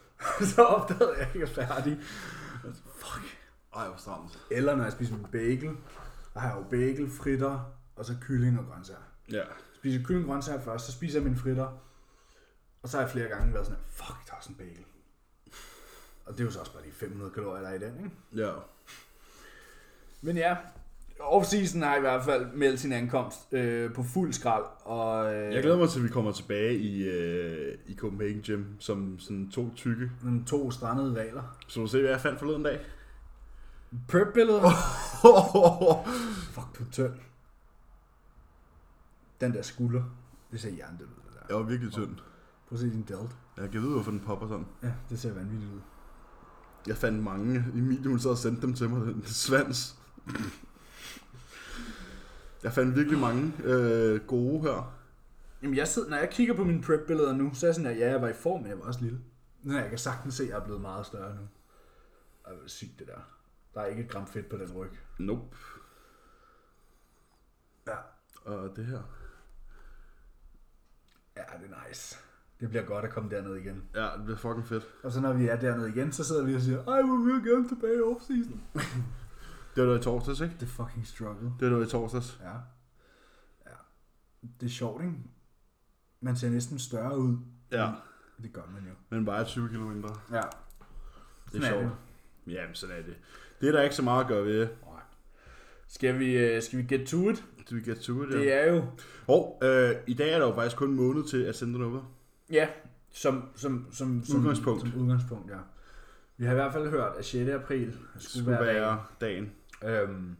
[SPEAKER 2] [laughs] så opdagede jeg, at jeg ikke er færdig. Fuck.
[SPEAKER 1] Ej, hvor stramt.
[SPEAKER 2] Eller når jeg spiser min bagel, der har jeg jo bagel, fritter, og så kylling og grøntsager.
[SPEAKER 1] Ja.
[SPEAKER 2] Spiser kylling og grøntsager først, så spiser jeg mine fritter, og så har jeg flere gange været sådan her, fuck, der er også en bagel. Og det er jo så også bare de 500 kalorier, der er i den, ikke?
[SPEAKER 1] Ja.
[SPEAKER 2] Men ja, off-season har i hvert fald meldt sin ankomst øh, på fuld skrald, og... Øh,
[SPEAKER 1] Jeg glæder mig til, at vi kommer tilbage i, øh, i Copenhagen Gym som sådan to tykke.
[SPEAKER 2] Nogle to strandede valer.
[SPEAKER 1] Så du se, hvad jeg fandt forleden dag? [laughs]
[SPEAKER 2] Perp billeder. Oh. Fuck på tynd. Den der skulder. Det ser jerndødt ud, det der.
[SPEAKER 1] jeg var virkelig tynd.
[SPEAKER 2] Prøv at se din delt.
[SPEAKER 1] Jeg kan vide, hvorfor den popper sådan.
[SPEAKER 2] Ja, det ser vanvittigt ud.
[SPEAKER 1] Jeg fandt mange. Emilie, hun sad og sendte dem til mig, den svans. Jeg fandt virkelig mange øh, gode her.
[SPEAKER 2] Jamen, jeg sidder, når jeg kigger på mine prep-billeder nu, så er jeg sådan, at ja, jeg var i form, men jeg var også lille. Nå, jeg kan sagtens se, at jeg er blevet meget større nu. Ej, hvor er det sygt, det der. Der er ikke et gram fedt på den ryg.
[SPEAKER 1] Nope.
[SPEAKER 2] Ja.
[SPEAKER 1] Og det her.
[SPEAKER 2] Ja, det er nice. Det bliver godt at komme derned igen.
[SPEAKER 1] Ja, det bliver fucking fedt.
[SPEAKER 2] Og så når vi er dernede igen, så sidder vi og siger, ej, hvor vil jeg gerne tilbage i off-season.
[SPEAKER 1] Det var der i torsdags, ikke?
[SPEAKER 2] Det er fucking struggle.
[SPEAKER 1] Det var der i torsdags.
[SPEAKER 2] Ja. ja. Det er sjovt, ikke? Man ser næsten større ud.
[SPEAKER 1] Ja.
[SPEAKER 2] Det gør man jo.
[SPEAKER 1] Men bare 20 kilo mindre.
[SPEAKER 2] Ja.
[SPEAKER 1] Det er sjovt. Jamen, sådan er det. Det er der ikke så meget at gøre ved.
[SPEAKER 2] Skal vi, øh, skal vi get to it?
[SPEAKER 1] Do we get to it?
[SPEAKER 2] Det
[SPEAKER 1] Ja.
[SPEAKER 2] er jo,
[SPEAKER 1] Hov, øh, i dag er der jo faktisk kun en måned til at sende den over.
[SPEAKER 2] ja, som, som, som, som
[SPEAKER 1] Udgangspunkt.
[SPEAKER 2] Som udgangspunkt, ja. Vi har i hvert fald hørt, at 6. april skulle,
[SPEAKER 1] Det skulle være dagen.
[SPEAKER 2] dagen. Øhm,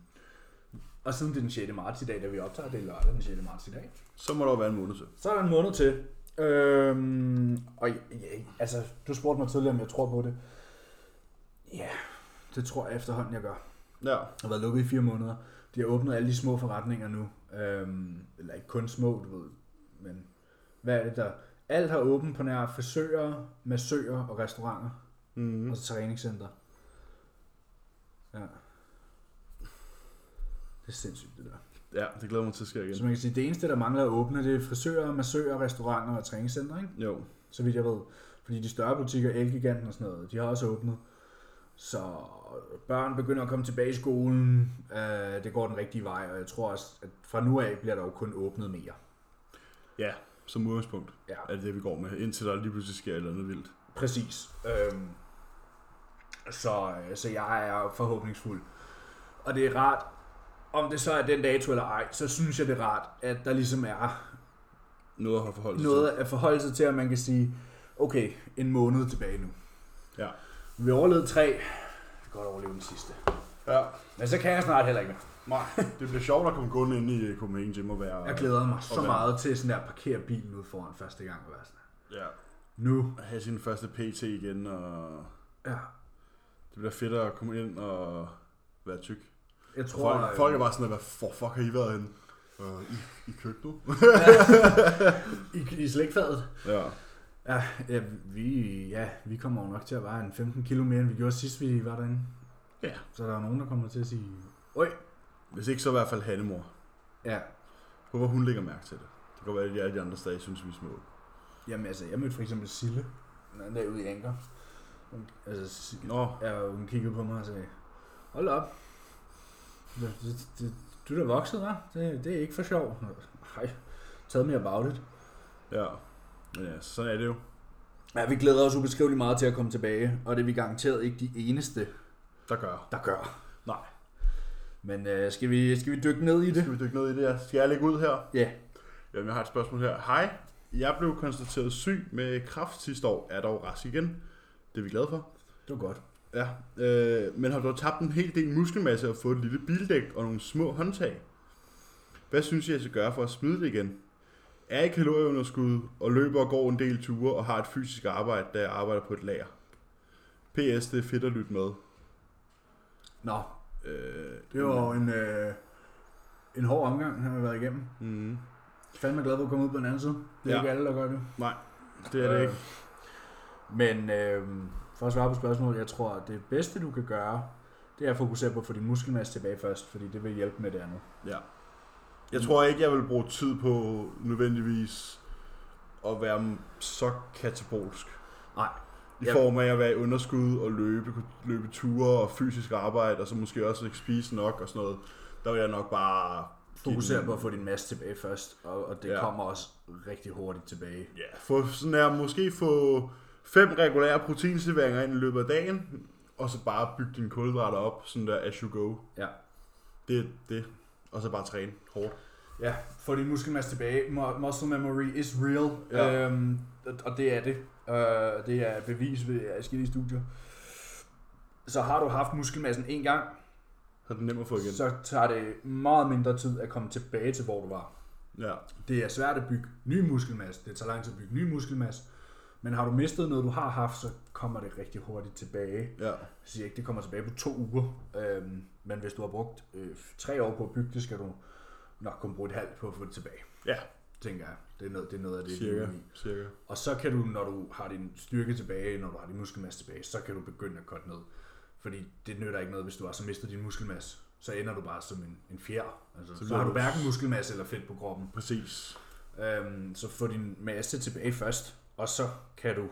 [SPEAKER 2] og siden det er den 6. marts i dag, da vi optager, det er lørdag den 6. marts i dag.
[SPEAKER 1] Så må der jo være en måned til.
[SPEAKER 2] Så er der en måned til. Øhm, og ja, altså, du spurgte mig tidligere, om jeg tror på det. Ja, det tror jeg efterhånden, jeg gør.
[SPEAKER 1] Ja.
[SPEAKER 2] har været lukket i fire måneder. De har åbnet alle de små forretninger nu. Øhm, eller ikke kun små, du ved. Men hvad er det der? Alt har åbent på nær frisører, massører og restauranter.
[SPEAKER 1] Mm.
[SPEAKER 2] Og så træningscenter. Ja. Det er sindssygt, det der.
[SPEAKER 1] Ja, det glæder jeg mig til at sker
[SPEAKER 2] Så
[SPEAKER 1] igen.
[SPEAKER 2] man kan sige, det eneste, der mangler at åbne, det er frisører, massører, restauranter og træningscenter, ikke?
[SPEAKER 1] Jo.
[SPEAKER 2] så vidt jeg ved. Fordi de større butikker, Elgiganten og sådan noget, de har også åbnet. Så børn begynder at komme tilbage i skolen. Øh, det går den rigtige vej, og jeg tror også, at fra nu af bliver der jo kun åbnet mere.
[SPEAKER 1] Ja, som udgangspunkt
[SPEAKER 2] Ja,
[SPEAKER 1] er det det, vi går med, indtil der lige pludselig sker et eller andet vildt.
[SPEAKER 2] præcis. Øhm, så, øh, så jeg er forhåbningsfuld. Og det er rart, om det så er den dato eller ej, så synes jeg det er rart, at der ligesom er
[SPEAKER 1] Noget at have forholdt sig
[SPEAKER 2] noget at forholde sig til, at man kan sige, okay, en måned tilbage nu.
[SPEAKER 1] Ja.
[SPEAKER 2] Vi overlevede tre. Det godt overleve den sidste.
[SPEAKER 1] Ja.
[SPEAKER 2] Men så kan jeg snart heller ikke mere.
[SPEAKER 1] Nej, det bliver sjovt at komme kun ind i øh, Copenhagen Gym og være...
[SPEAKER 2] Jeg glæder mig så
[SPEAKER 1] Og hvad?
[SPEAKER 2] meget til sådan der at parkere bilen ude foran første gang. Og være sådan,
[SPEAKER 1] Ja,
[SPEAKER 2] nu.
[SPEAKER 1] at have sin første PT igen, og
[SPEAKER 2] Ja.
[SPEAKER 1] det bliver fedt at komme ind og være tyk.
[SPEAKER 2] Jeg tror,
[SPEAKER 1] Folk,
[SPEAKER 2] øh,
[SPEAKER 1] folk er bare sådan, hvad for fuck har I været henne? Øh, i, I køkkenet?
[SPEAKER 2] [laughs] i, i slægtfadet.
[SPEAKER 1] [laughs] ja.
[SPEAKER 2] Ja, ja, vi, ja, vi kommer jo nok til at være en 15 kilo mere, end vi gjorde sidst, vi var derinde.
[SPEAKER 1] Ja.
[SPEAKER 2] Så der er nogen, der kommer til at sige, Øj.
[SPEAKER 1] Hvis ikke, så i hvert fald Hannemor.
[SPEAKER 2] Ja,
[SPEAKER 1] Håber, hun lægger mærke til det. Det kan godt være, at alle de andre stadig synes, vi er små.
[SPEAKER 2] jamen altså, jeg mødte for eksempel Sille, den anden dag ude i Anker. Hun, altså, Si-
[SPEAKER 1] Nå,
[SPEAKER 2] ja, hun kiggede på mig og sagde, hold da op, det, det, det, du er da vokset, hva'? Det, det er ikke for sjov. Nej, tell me about it.
[SPEAKER 1] ja. Men ja, sådan er det jo.
[SPEAKER 2] Ja, vi glæder os ubeskriveligt meget til at komme tilbage, og det er vi garanteret ikke de eneste,
[SPEAKER 1] Der gør.
[SPEAKER 2] der gør.
[SPEAKER 1] Nej.
[SPEAKER 2] Men øh, skal, vi, skal vi dykke ned i det?
[SPEAKER 1] Skal vi dykke ned i det her? Skal jeg lægge ud her?
[SPEAKER 2] Ja,
[SPEAKER 1] Jamen, jeg har et spørgsmål her. Hej, jeg blev konstateret syg med kræft sidste år. Er dog rask igen. Det er vi glade for.
[SPEAKER 2] det var godt.
[SPEAKER 1] Ja, øh, men har dog tabt en hel del muskelmasse og fået et lille bildæk og nogle små håndtag. Hvad synes I, jeg skal gøre for at smide det igen? Er i kalorieunderskud og løber og går en del ture og har et fysisk arbejde, da jeg arbejder på et lager. PS, det er fedt at lytte med.
[SPEAKER 2] Nå,
[SPEAKER 1] Øh,
[SPEAKER 2] det var jo en, øh, en hård omgang, han har været igennem.
[SPEAKER 1] Mm,
[SPEAKER 2] Fandme glad for at komme ud på den anden side. Det
[SPEAKER 1] Ja.
[SPEAKER 2] er ja. ikke alle, der gør det. Øh.
[SPEAKER 1] nej, det er det ikke.
[SPEAKER 2] Men øh, for at svare på spørgsmålet, jeg tror, at det bedste, du kan gøre, det er at fokusere på at få din muskelmasse tilbage først, fordi det vil hjælpe med det andet.
[SPEAKER 1] Ja. Jeg tror ikke, jeg vil bruge tid på nødvendigvis at være så katabolsk.
[SPEAKER 2] Nej.
[SPEAKER 1] I
[SPEAKER 2] Jeg-
[SPEAKER 1] form af at være i underskud og løbe, løbe ture og fysisk arbejde, og så måske også ikke spise nok og sådan noget. Der vil jeg nok bare
[SPEAKER 2] Fokusere
[SPEAKER 1] give
[SPEAKER 2] på
[SPEAKER 1] den-
[SPEAKER 2] at få din masse tilbage først, og, og det
[SPEAKER 1] Ja.
[SPEAKER 2] ja. kommer også rigtig hurtigt tilbage.
[SPEAKER 1] Ja, få sådan her, måske få fem regulære proteinserveringer ind i løbet af dagen, og så bare bygge dine kulhydrater op, sådan der as you go.
[SPEAKER 2] Ja.
[SPEAKER 1] Det er det. Og så bare træne hårdt.
[SPEAKER 2] Ja, få din muskelmasse tilbage. Mu- Muscle memory is real.
[SPEAKER 1] Ja.
[SPEAKER 2] Ja. Øhm, og- og det er det. Øh, det er bevis ved forskellige studier. Så har du haft muskelmassen en gang,
[SPEAKER 1] Så er det nemt at få igen.
[SPEAKER 2] så tager det meget mindre tid at komme tilbage til, hvor du var.
[SPEAKER 1] Ja.
[SPEAKER 2] Det er svært at bygge ny muskelmasse. Det tager lang tid at bygge ny muskelmasse. Men har du mistet noget, du har haft, så kommer det rigtig hurtigt tilbage.
[SPEAKER 1] Ja.
[SPEAKER 2] Jeg siger ikke, det kommer tilbage på to uger. Øhm, men hvis du har brugt øh, tre år på at bygge det, skal du nok kun bruge et halvt på at få det tilbage
[SPEAKER 1] Ja,
[SPEAKER 2] tænker jeg. Det er noget, det er noget af det, vi er
[SPEAKER 1] cirka.
[SPEAKER 2] ude i.
[SPEAKER 1] cirka.
[SPEAKER 2] Og så kan du, når du har din styrke tilbage, når du har din muskelmasse tilbage, så kan du begynde at korte ned. Fordi det nytter ikke noget, hvis du har så mistet din muskelmasse. Så ender du bare som en, en fjer. Altså, så, så
[SPEAKER 1] bliver
[SPEAKER 2] har du
[SPEAKER 1] du-
[SPEAKER 2] hverken muskelmasse eller fedt på kroppen.
[SPEAKER 1] Præcis.
[SPEAKER 2] Øhm, så få din masse tilbage først, og så kan du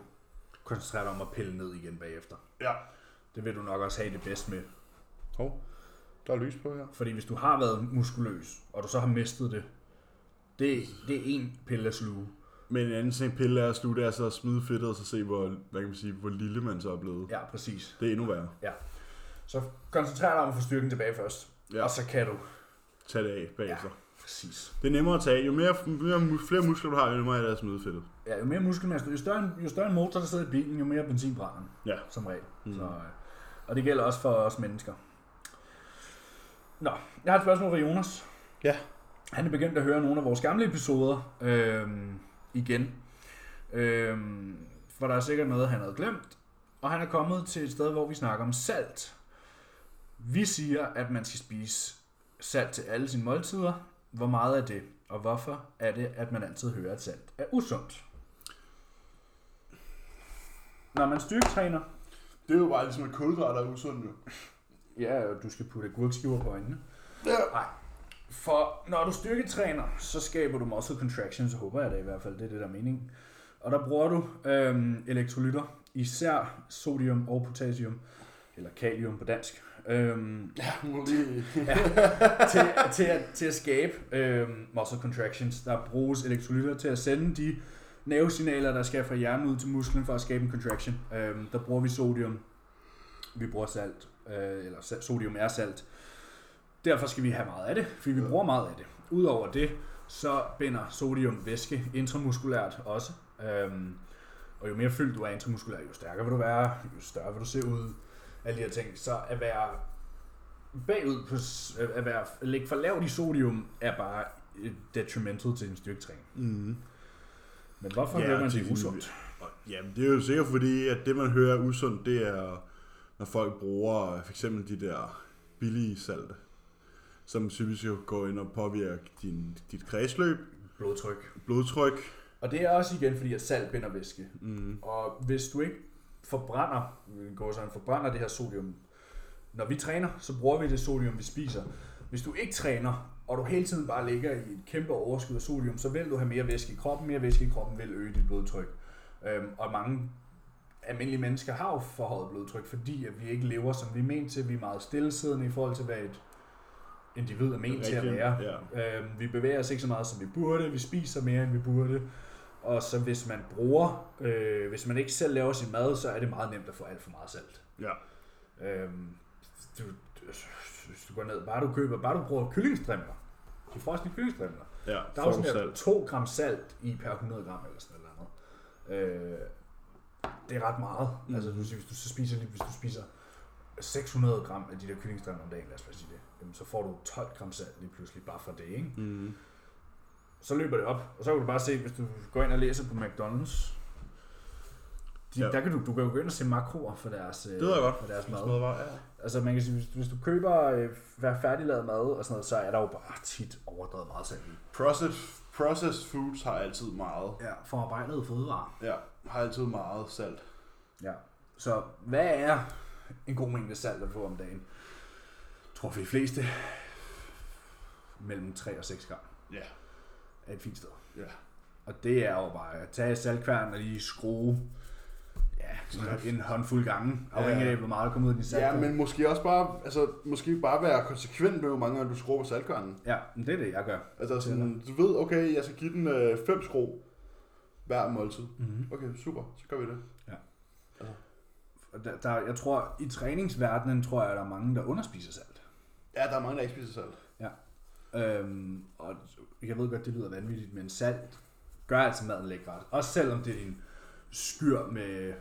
[SPEAKER 2] koncentrere dig om at pille ned igen bagefter.
[SPEAKER 1] Ja.
[SPEAKER 2] Det vil du nok også have det bedst med.
[SPEAKER 1] Hov, der er lys på her.
[SPEAKER 2] Fordi hvis du har været muskuløs, og du så har mistet det, det, det er en pille at sluge.
[SPEAKER 1] Men en anden ting, pille er at slutte, er så at smide fedtet, og så se, hvor, hvad kan man sige, hvor lille man så er blevet. Ja.
[SPEAKER 2] Ja, præcis.
[SPEAKER 1] Det er endnu værre.
[SPEAKER 2] Ja. Så koncentrer dig om at få styrken tilbage først.
[SPEAKER 1] Ja.
[SPEAKER 2] Ja. Og så kan du.
[SPEAKER 1] Tag det af bagefter. Ja.
[SPEAKER 2] Præcis.
[SPEAKER 1] Det er nemmere at tage. Jo mere, mere, mu- flere muskler du har, jo nemmere er det at smide fedtet.
[SPEAKER 2] Ja, jo mere muskelmasse, jo større, en- jo større en motor, der sidder i bilen, jo mere benzin brænder den,
[SPEAKER 1] Ja.
[SPEAKER 2] som regel. Mm. Så, øh, og det gælder også for os mennesker. Nå, jeg har et spørgsmål fra Jonas.
[SPEAKER 1] Ja.
[SPEAKER 2] Han er begyndt at høre nogle af vores gamle episoder øhm, igen. Øhm, for der er sikkert noget, han havde glemt. Og han er kommet til et sted, hvor vi snakker om salt. Vi siger, at man skal spise salt til alle sine måltider. Hvor meget er det? Og hvorfor er det, at man altid hører, at salt er usundt? Når man styrketræner,
[SPEAKER 1] Det er jo bare ligesom, at kulhydrater er usundt jo.
[SPEAKER 2] ja, og du skal putte agurkskiver på øjnene.
[SPEAKER 1] [laughs] Ja.
[SPEAKER 2] Nej. For når du styrketræner, så skaber du muscle contractions, håber jeg da i hvert fald, det er det, der er meningen. Og der bruger du øhm, elektrolytter, især sodium og potassium, eller kalium på dansk, øhm, [laughs] til, til, at, til at skabe øh, muscle contractions. Der bruges elektrolytter til at sende de nervesignaler, der skal fra hjernen ud til musklen for at skabe en contraction. Øh, der bruger vi sodium. Vi bruger salt. Øh, eller sa- sodium er salt. Derfor skal vi have meget af det, fordi vi bruger meget af det. Udover det, så binder sodium væske intramuskulært også. Øhm, og jo mere fyldt du er intramuskulært, jo stærkere vil du være, jo større vil du se ud. alle de her ting, så at være bagud på, s- at være, at ligge for lavt i sodium, er bare øh, detrimental til en styrketræning.
[SPEAKER 1] Mm.
[SPEAKER 2] Men hvorfor ja, hører man
[SPEAKER 1] til
[SPEAKER 2] det
[SPEAKER 1] en-
[SPEAKER 2] usundt?
[SPEAKER 1] Og, jamen, det er jo sikkert fordi, at det man hører er usundt, det er, når folk bruger øh, for eksempel de der billige salte, som typisk jo går ind og påvirker din, dit kredsløb,
[SPEAKER 2] Blodtryk.
[SPEAKER 1] blodtryk.
[SPEAKER 2] Og det er også igen, fordi at salt binder væske.
[SPEAKER 1] Mm.
[SPEAKER 2] Og hvis du ikke forbrænder, går sådan, forbrænder det her sodium, når vi træner, så bruger vi det sodium, vi spiser. Hvis du ikke træner, og du hele tiden bare ligger i et kæmpe overskud af sodium, så vil du have mere væske i kroppen. Mere væske i kroppen vil øge dit blodtryk. Øhm, og mange almindelige mennesker har jo forhøjet blodtryk, fordi at vi ikke lever, som vi er ment til. Vi er meget stillesiddende i forhold til, hvad et individ er ment til at
[SPEAKER 1] Rigtigt,
[SPEAKER 2] være.
[SPEAKER 1] Ja.
[SPEAKER 2] Øh, vi bevæger os ikke så meget, som vi burde. Vi spiser mere, end vi burde. Og så hvis man bruger, øh, hvis man ikke selv laver sin mad, så er det meget nemt at få alt for meget salt.
[SPEAKER 1] ja.
[SPEAKER 2] Øh, du, hvis du går ned, bare du køber, bare du bruger kyllingstrimler, de frosne kyllingstrimler,
[SPEAKER 1] Ja,
[SPEAKER 2] der er jo sådan der
[SPEAKER 1] salt.
[SPEAKER 2] 2 gram salt i per 100 gram eller sådan noget. andet. Øh, det er ret meget. Mm. Altså, du, hvis du så spiser, lige- hvis du spiser 600 gram af de der kyllingstrimler om dagen, lad os bare sige det, jamen, så får du 12 gram salt lige pludselig bare fra det, ikke?
[SPEAKER 1] Mm.
[SPEAKER 2] så løber det op. Og så kan du bare se, hvis du går ind og læser på McDonald's, de,
[SPEAKER 1] Ja.
[SPEAKER 2] ja. der kan du, du kan jo gå ind og se makroer for deres, det
[SPEAKER 1] Det ved jeg godt.
[SPEAKER 2] for deres
[SPEAKER 1] Sådan
[SPEAKER 2] mad.
[SPEAKER 1] noget var, ja.
[SPEAKER 2] Altså man kan sige, hvis, hvis du køber øh, hver færdiglavet mad og sådan noget, så er der jo bare tit overdrevet meget salt i.
[SPEAKER 1] Processed, processed foods har altid meget.
[SPEAKER 2] Ja, forarbejdede fødevarer.
[SPEAKER 1] Ja, har altid meget salt.
[SPEAKER 2] Ja. Så hvad er en god mængde salt at få om dagen? Jeg tror for de fleste, mellem 3 og 6 gram
[SPEAKER 1] Ja.
[SPEAKER 2] er et fint sted.
[SPEAKER 1] Ja.
[SPEAKER 2] Og det er jo bare at tage saltkværn og lige skrue ja, sådan en håndfuld gange, afhængig
[SPEAKER 1] Ja.
[SPEAKER 2] af, hvor meget der kommer ud af din salt.
[SPEAKER 1] Ja, men måske også bare, altså, måske bare være konsekvent med, hvor mange gange du skruer på saltkørnen.
[SPEAKER 2] ja, men det er det, jeg gør.
[SPEAKER 1] Altså sådan, du ved, okay, jeg skal give den 5 fem skru hver måltid.
[SPEAKER 2] Mm-hmm.
[SPEAKER 1] Okay, super, så gør vi det.
[SPEAKER 2] Der, der, jeg tror, i træningsverdenen tror jeg, at der er mange, der underspiser salt.
[SPEAKER 1] Ja, der er mange, der ikke spiser salt.
[SPEAKER 2] Øhm, og jeg ved godt, det lyder vanvittigt, men salt gør altså maden lækret. Også selvom det er en skyr med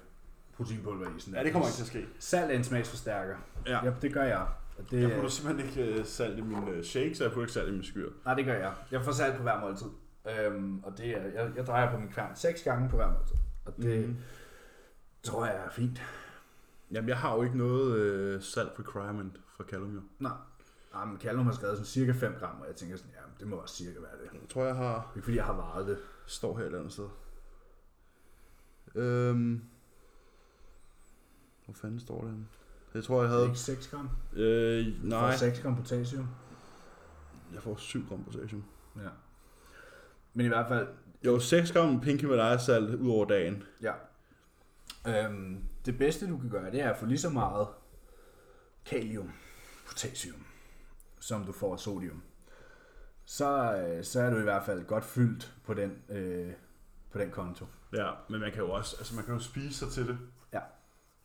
[SPEAKER 2] proteinpulver i. Sådan
[SPEAKER 1] Ja, det kommer ikke til at ske.
[SPEAKER 2] Salt er en smagsforstærker.
[SPEAKER 1] Ja.
[SPEAKER 2] Yep, det gør jeg. Og det,
[SPEAKER 1] Jeg putter simpelthen ikke øh, salt i min øh, shakes, og jeg putter ikke salt i min skyr.
[SPEAKER 2] Nej, det gør jeg. Jeg får salt på hver måltid. Øhm, og det er, jeg, jeg drejer på min kværn seks gange på hver måltid. Og det mm.
[SPEAKER 1] Mhm.
[SPEAKER 2] tror jeg er fint.
[SPEAKER 1] Jamen, jeg har jo ikke noget øh, salt requirement fra Callum, jo.
[SPEAKER 2] Nej. Jamen, Callum Ah, har skrevet sådan cirka 5 gram, og jeg tænker sådan, jamen, det må også cirka være det.
[SPEAKER 1] Jeg tror, jeg har...
[SPEAKER 2] Ikke fordi jeg har varet det.
[SPEAKER 1] Står her et eller andet sted. Øhm... Hvor fanden står det henne? Jeg tror, jeg
[SPEAKER 2] Er det
[SPEAKER 1] havde...
[SPEAKER 2] ikke 6 gram?
[SPEAKER 1] Øh,
[SPEAKER 2] Du
[SPEAKER 1] nej.
[SPEAKER 2] får 6 gram potassium.
[SPEAKER 1] Jeg får 7 gram potassium.
[SPEAKER 2] Ja. Men i hvert fald,
[SPEAKER 1] Jo, 6 gram pink Himalaya salt ud over dagen.
[SPEAKER 2] ja. Øhm, det bedste, du kan gøre, det er at få lige så meget kalium, potassium, som du får af sodium. Så, øh, så er du i hvert fald godt fyldt på den, øh, på den konto.
[SPEAKER 1] Ja, men man kan jo også, altså man kan jo spise sig til det.
[SPEAKER 2] Ja.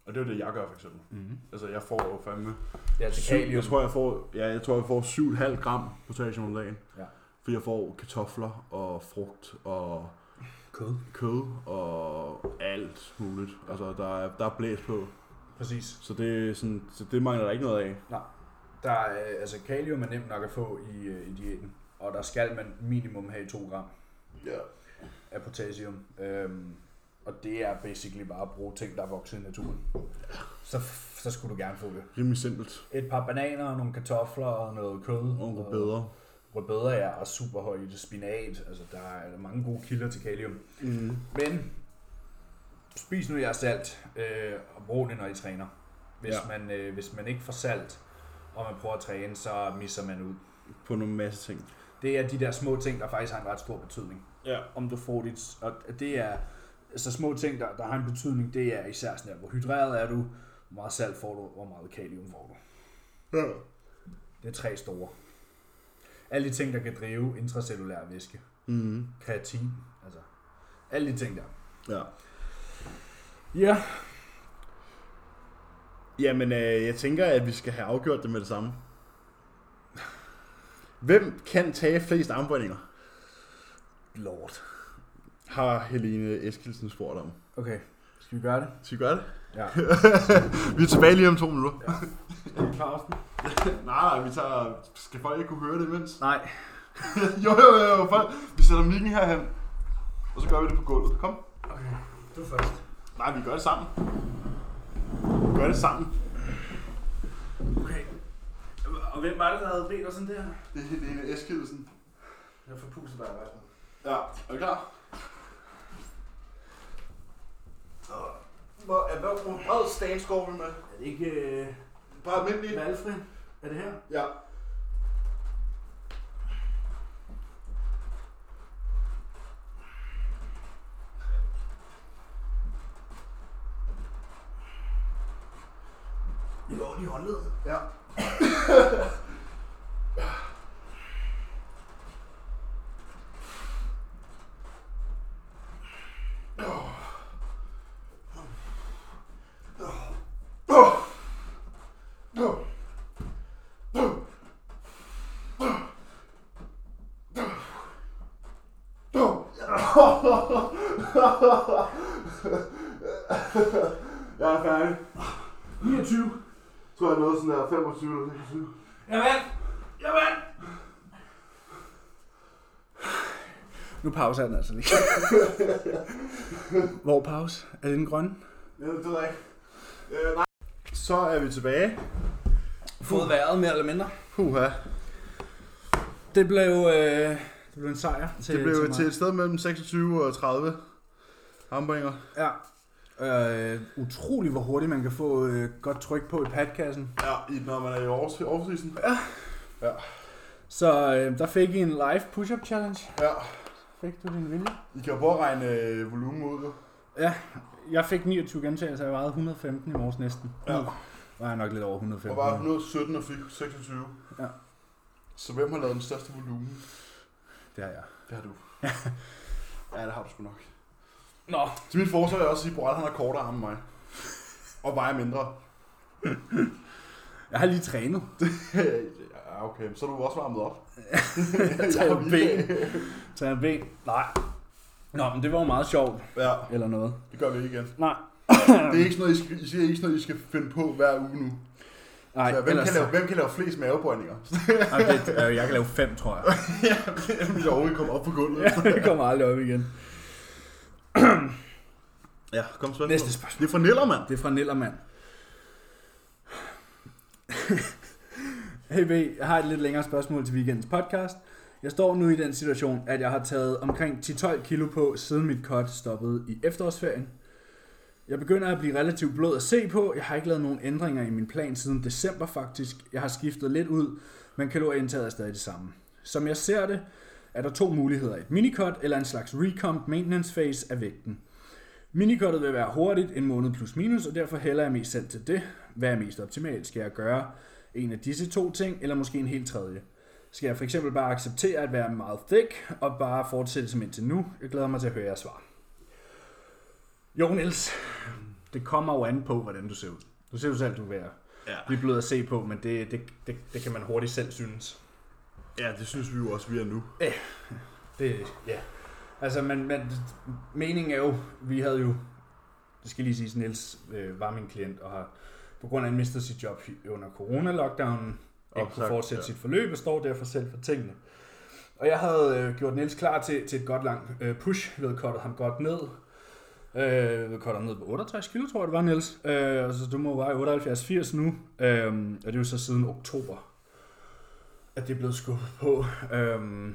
[SPEAKER 1] Og det er jo det, jeg gør for eksempel.
[SPEAKER 2] Mm-hmm.
[SPEAKER 1] Altså jeg får jo fandme...
[SPEAKER 2] Ja,
[SPEAKER 1] syv- Jeg tror, jeg får, ja, jeg tror, jeg får 7,5 gram potassium om dagen.
[SPEAKER 2] Ja.
[SPEAKER 1] Fordi jeg får kartofler og frugt og
[SPEAKER 2] Kød.
[SPEAKER 1] kød og alt muligt. Altså der er, der er blæs på.
[SPEAKER 2] Præcis.
[SPEAKER 1] Så det, er sådan, så det mangler der ikke noget af.
[SPEAKER 2] Der er, øh, altså, kalium er nemt nok at få i, øh, i diæten, og der skal man minimum have 2 gram
[SPEAKER 1] Ja.
[SPEAKER 2] af potassium. Øhm, og det er basically bare at bruge ting, der er vokset i naturen. Så, så skulle du gerne få det.
[SPEAKER 1] Rimelig simpelt.
[SPEAKER 2] Et par bananer, nogle kartofler og noget kød.
[SPEAKER 1] Og nogle bedre.
[SPEAKER 2] Rødbeder er og super højt i det. Spinat. Altså, der er mange gode kilder til kalium.
[SPEAKER 1] Mm.
[SPEAKER 2] Men spis nu jeres salt, øh, og brug det, når I træner. Hvis,
[SPEAKER 1] Ja.
[SPEAKER 2] ja. man, øh, hvis man ikke får salt, og man prøver at træne, så misser man ud.
[SPEAKER 1] På nogle masse ting.
[SPEAKER 2] Det er de der små ting, der faktisk har en ret stor betydning.
[SPEAKER 1] Ja.
[SPEAKER 2] Om du får dit... Og det er... Så små ting, der, der har en betydning, det er især sådan der, hvor hydreret er du, hvor meget salt får du, hvor meget kalium får du.
[SPEAKER 1] ja.
[SPEAKER 2] Det er tre store. Alle de ting, der kan drive intracellulær væske.
[SPEAKER 1] Mm.
[SPEAKER 2] Kreatin, altså. Alle de ting der.
[SPEAKER 1] Ja.
[SPEAKER 2] Ja.
[SPEAKER 1] Jamen, øh, jeg tænker, at vi skal have afgjort det med det samme. Hvem kan tage flest armbøjninger?
[SPEAKER 2] Lord.
[SPEAKER 1] Har Helene Eskildsen spurgt om.
[SPEAKER 2] Okay, skal vi gøre det?
[SPEAKER 1] Skal vi gøre det?
[SPEAKER 2] Ja.
[SPEAKER 1] [laughs] vi er tilbage lige om to minutter. Ja.
[SPEAKER 2] Er I pausen?
[SPEAKER 1] [laughs] Nej, nej, vi tager... Skal folk ikke kunne høre det imens?
[SPEAKER 2] Nej.
[SPEAKER 1] [laughs] jo, jo, jo, jo, folk. Vi sætter mikken herhen. Og så gør vi det på gulvet. Kom.
[SPEAKER 2] Okay. Du først.
[SPEAKER 1] Nej, vi gør det sammen. Vi gør det sammen.
[SPEAKER 2] Okay. Og hvem var det, der havde bedt os sådan der?
[SPEAKER 1] Det er Helene Eskildsen.
[SPEAKER 2] Jeg får puset dig i hvert fald.
[SPEAKER 1] Ja, er du klar? Hvor er hvad hvor bred stance går vi med?
[SPEAKER 2] Er det ikke øh,
[SPEAKER 1] Bare almindelig?
[SPEAKER 2] valgfri? Er det her?
[SPEAKER 1] Ja.
[SPEAKER 2] Det går lige håndledet.
[SPEAKER 1] Ja. [laughs] Jeg er færdig.
[SPEAKER 2] 29.
[SPEAKER 1] Jeg tror, jeg nåede sådan der 25 eller 26.
[SPEAKER 2] Jeg vandt! Jeg vandt! Nu pauser den altså lige. Hvor pause? Er det den grønne?
[SPEAKER 1] Ja, det ved jeg ikke. Øh, nej. Så er vi tilbage.
[SPEAKER 2] Fået vejret mere eller mindre.
[SPEAKER 1] Puha.
[SPEAKER 2] Det blev, øh, det blev en sejr til,
[SPEAKER 1] Det blev
[SPEAKER 2] til
[SPEAKER 1] til,
[SPEAKER 2] mig.
[SPEAKER 1] et sted mellem 26 og 30 hamburger.
[SPEAKER 2] Ja. Øh, utrolig hvor hurtigt man kan få øh, godt tryk på i padkassen.
[SPEAKER 1] Ja, i- når man er i års- årsisen.
[SPEAKER 2] Så øh, der fik I en live push-up challenge.
[SPEAKER 1] Ja.
[SPEAKER 2] Fik du din vilje?
[SPEAKER 1] I kan jo prøve at regne øh, volumen ud. jo.
[SPEAKER 2] Ja, jeg fik 29 gentagelser, jeg vejede 115 i morges næsten.
[SPEAKER 1] Ja.
[SPEAKER 2] Nu var jeg nok lidt over
[SPEAKER 1] Og
[SPEAKER 2] 115.
[SPEAKER 1] var 117 og fik 26.
[SPEAKER 2] Ja.
[SPEAKER 1] Så hvem har lavet den største volumen?
[SPEAKER 2] Det har jeg.
[SPEAKER 1] Det har du. ja, det har du sgu nok.
[SPEAKER 2] Nå.
[SPEAKER 1] Til mit forsvar vil jeg også sige, at Boral han har kortere arme end mig. Og vejer mindre.
[SPEAKER 2] Jeg har lige trænet.
[SPEAKER 1] [laughs] ja, okay. Så er du også varmet op.
[SPEAKER 2] Jeg tager
[SPEAKER 1] har
[SPEAKER 2] ben. Tager en ben. Nej. Nå, men det var jo meget sjovt.
[SPEAKER 1] Ja,
[SPEAKER 2] Eller noget.
[SPEAKER 1] det gør vi ikke igen.
[SPEAKER 2] Nej.
[SPEAKER 1] Det er ikke sådan noget, I skal, I siger ikke sådan noget, I skal finde på hver uge nu.
[SPEAKER 2] Nej,
[SPEAKER 1] så hvem,
[SPEAKER 2] ellers...
[SPEAKER 1] kan lave, hvem kan lave flest mavebøjninger?
[SPEAKER 2] Okay, det- øh, jeg kan lave fem, tror
[SPEAKER 1] [laughs]
[SPEAKER 2] jeg.
[SPEAKER 1] Vi kan overhovedet komme op på gulvet.
[SPEAKER 2] ja, det kommer aldrig op igen.
[SPEAKER 1] Ja, kom så.
[SPEAKER 2] Næste spørgsmål.
[SPEAKER 1] Det er fra Niller, mand.
[SPEAKER 2] Det er fra Nellermand. Hey B, jeg har et lidt længere spørgsmål til weekendens podcast. Jeg står nu i den situation, at jeg har taget omkring 10-12 kilo på, siden mit cut stoppede i efterårsferien. Jeg begynder at blive relativt blød at se på. Jeg har ikke lavet nogen ændringer i min plan siden december faktisk. Jeg har skiftet lidt ud, men kalorieindtaget er stadig det samme. Som jeg ser det, er der to muligheder. Et minicut eller en slags recomp maintenance phase af vægten. Minikottet vil være hurtigt, en måned plus minus, og derfor hælder jeg mest selv til det. Hvad er mest optimalt? Skal jeg gøre en af disse to ting, eller måske en helt tredje? Skal jeg for eksempel bare acceptere at være meget thick, og bare fortsætte som indtil nu? Jeg glæder mig til at høre jeres svar. Jo, Niels, det kommer jo an på, hvordan du ser ud. Du ser jo selv, du vil være
[SPEAKER 1] Ja.
[SPEAKER 2] lidt blød at se på, men det, det, det, det kan man hurtigt selv synes.
[SPEAKER 1] ja, det synes vi jo også, vi er nu.
[SPEAKER 2] Det, ja. Altså, men, men meningen er jo, vi havde jo, det skal lige siges, Niels øh, var min klient og har på grund af, at han mistede sit job under corona-lockdownen og
[SPEAKER 1] Exakt,
[SPEAKER 2] kunne fortsætte
[SPEAKER 1] ja.
[SPEAKER 2] ja. sit forløb og står derfor selv for tingene. Og jeg havde øh, gjort Niels klar til, til et godt langt øh, push, ved kottet ham godt ned. Øh, ved kottet ham ned på 68 kilo, tror jeg det var, Niels. Øh, og så du må veje 78-80 nu, øh, og det er jo så siden oktober, at det er blevet skubbet på. Øh,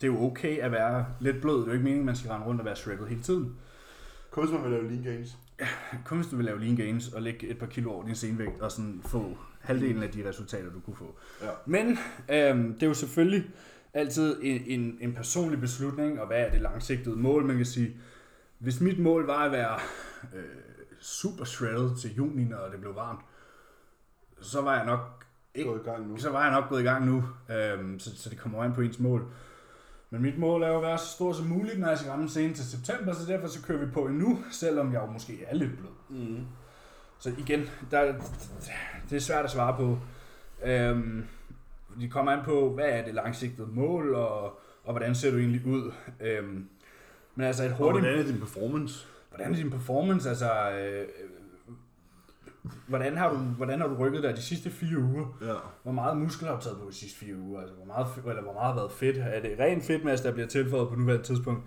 [SPEAKER 2] det er jo okay at være lidt blød. Det er jo ikke meningen, at man skal rende rundt og være shredded hele tiden. [laughs]
[SPEAKER 1] Kom, hvis man vil lave lean gains.
[SPEAKER 2] Kun hvis du vil lave lean gains og lægge et par kilo over din senvægt og sådan få halvdelen af de resultater, du kunne få.
[SPEAKER 1] Ja.
[SPEAKER 2] Men øhm, det er jo selvfølgelig altid en, en, en personlig beslutning, og hvad er det langsigtede mål, man kan sige. Hvis mit mål var at være øh, super shredded til juni, når det blev varmt, så var jeg nok
[SPEAKER 1] Det
[SPEAKER 2] ikke
[SPEAKER 1] går i gang nu.
[SPEAKER 2] så var jeg nok gået i gang nu, øhm, så, så det kommer jo an på ens mål. Men mit mål er jo at være så stor som muligt, når jeg skal ramme scenen til september, så derfor så kører vi på endnu, selvom jeg jo måske er lidt blød.
[SPEAKER 1] Mm.
[SPEAKER 2] Så igen, der, det er svært at svare på. Øhm, det kommer an på, hvad er det langsigtede mål, og, og hvordan ser du egentlig ud. Øhm, men altså et
[SPEAKER 1] Og
[SPEAKER 2] hurtigt...
[SPEAKER 1] hvordan er din performance?
[SPEAKER 2] Hvordan er din performance? Altså, øh, hvordan, har du, hvordan har du rykket dig de sidste fire uger?
[SPEAKER 1] Ja.
[SPEAKER 2] Hvor meget muskler har du taget på de sidste fire uger? Altså, hvor meget, fe- eller hvor meget har været fedt? Er det ren fedtmasse, der bliver tilføjet på nuværende tidspunkt?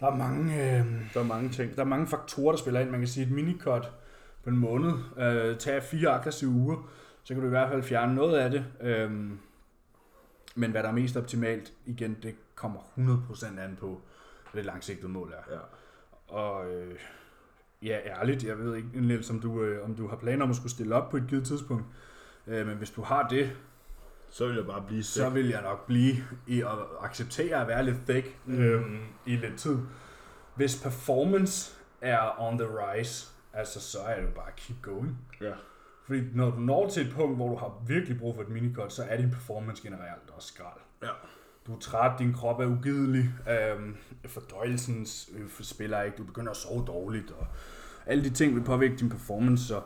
[SPEAKER 2] Der er mange... Øh,
[SPEAKER 1] Der er mange ting.
[SPEAKER 2] der er mange faktorer, der spiller ind. Man kan sige, at et minikot på en måned øh, tager fire aggressive uger, så kan du i hvert fald fjerne noget af det. Øhm, men hvad der er mest optimalt, igen, det kommer 100% an på, hvad det langsigtede mål er.
[SPEAKER 1] Ja.
[SPEAKER 2] Og øh, ja, ærligt, jeg ved ikke, Niels, om du, øh, om du har planer om at skulle stille op på et givet tidspunkt. Øh, men hvis du har det,
[SPEAKER 1] Så vil jeg bare blive
[SPEAKER 2] så
[SPEAKER 1] sick.
[SPEAKER 2] vil jeg nok blive i at acceptere at være lidt thick øhm, i lidt tid. Hvis performance er on the rise, altså så er det jo bare keep going.
[SPEAKER 1] Ja.
[SPEAKER 2] Fordi når du når til et punkt, hvor du har virkelig brug for et minikot, så er din performance generelt også skrald.
[SPEAKER 1] Ja.
[SPEAKER 2] Du er træt, din krop er ugidelig, øhm, fordøjelsen øh, spiller ikke, du begynder at sove dårligt, og alle de ting vil påvirke din performance, så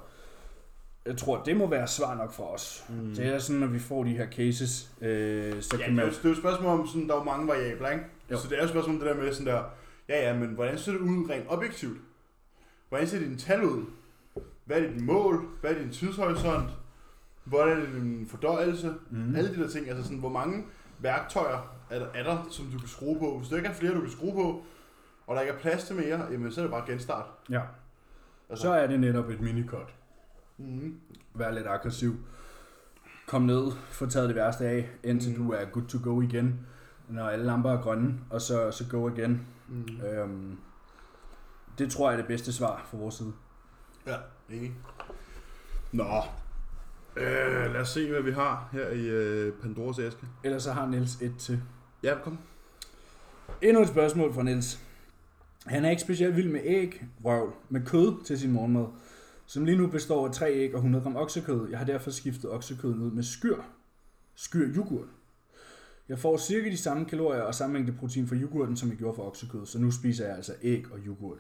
[SPEAKER 2] jeg tror, det må være svar nok for os. Mm. Det er sådan, når vi får de her cases, øh, så
[SPEAKER 1] Ja,
[SPEAKER 2] kan
[SPEAKER 1] det, er
[SPEAKER 2] man...
[SPEAKER 1] jo, det er jo et spørgsmål om, sådan, der er jo mange variabler, ikke?
[SPEAKER 2] Jo.
[SPEAKER 1] Jo. Så det er jo et spørgsmål om det der med sådan der, ja ja, men hvordan ser det ud rent objektivt? Hvordan ser dine tal ud? Hvad er dit mål? Hvad er din tidshorisont? Hvordan er din fordøjelse?
[SPEAKER 2] Mhm.
[SPEAKER 1] Mm. Alle de der ting, altså sådan, hvor mange værktøjer er der, er der, som du kan skrue på? Hvis der ikke er flere, du kan skrue på, og der ikke er plads til mere, jamen så er det bare genstart.
[SPEAKER 2] Ja.
[SPEAKER 1] Altså-
[SPEAKER 2] Så er det netop et minikot.
[SPEAKER 1] Mm.
[SPEAKER 2] Vær lidt aggressiv. Kom ned, få taget det værste af, indtil
[SPEAKER 1] Mm.
[SPEAKER 2] du er good to go igen, når alle lamper er grønne, og så, så go igen.
[SPEAKER 1] Mm.
[SPEAKER 2] Øhm, det tror jeg er det bedste svar fra vores side.
[SPEAKER 1] Ja, enig. Nå, øh, lad os se, hvad vi har her i øh, Pandoras æske.
[SPEAKER 2] Ellers så har Niels et til.
[SPEAKER 1] Ja, kom.
[SPEAKER 2] Endnu et spørgsmål fra Niels. Han er ikke specielt vild med æg, røvl, med kød til sin morgenmad, som lige nu består af 3 æg og 100 gram oksekød. Jeg har derfor skiftet oksekødet ud med skyr. Skyr yoghurt. Jeg får cirka de samme kalorier og samme mængde protein fra yoghurten, som jeg gjorde fra oksekød, så nu spiser jeg altså æg og yoghurt.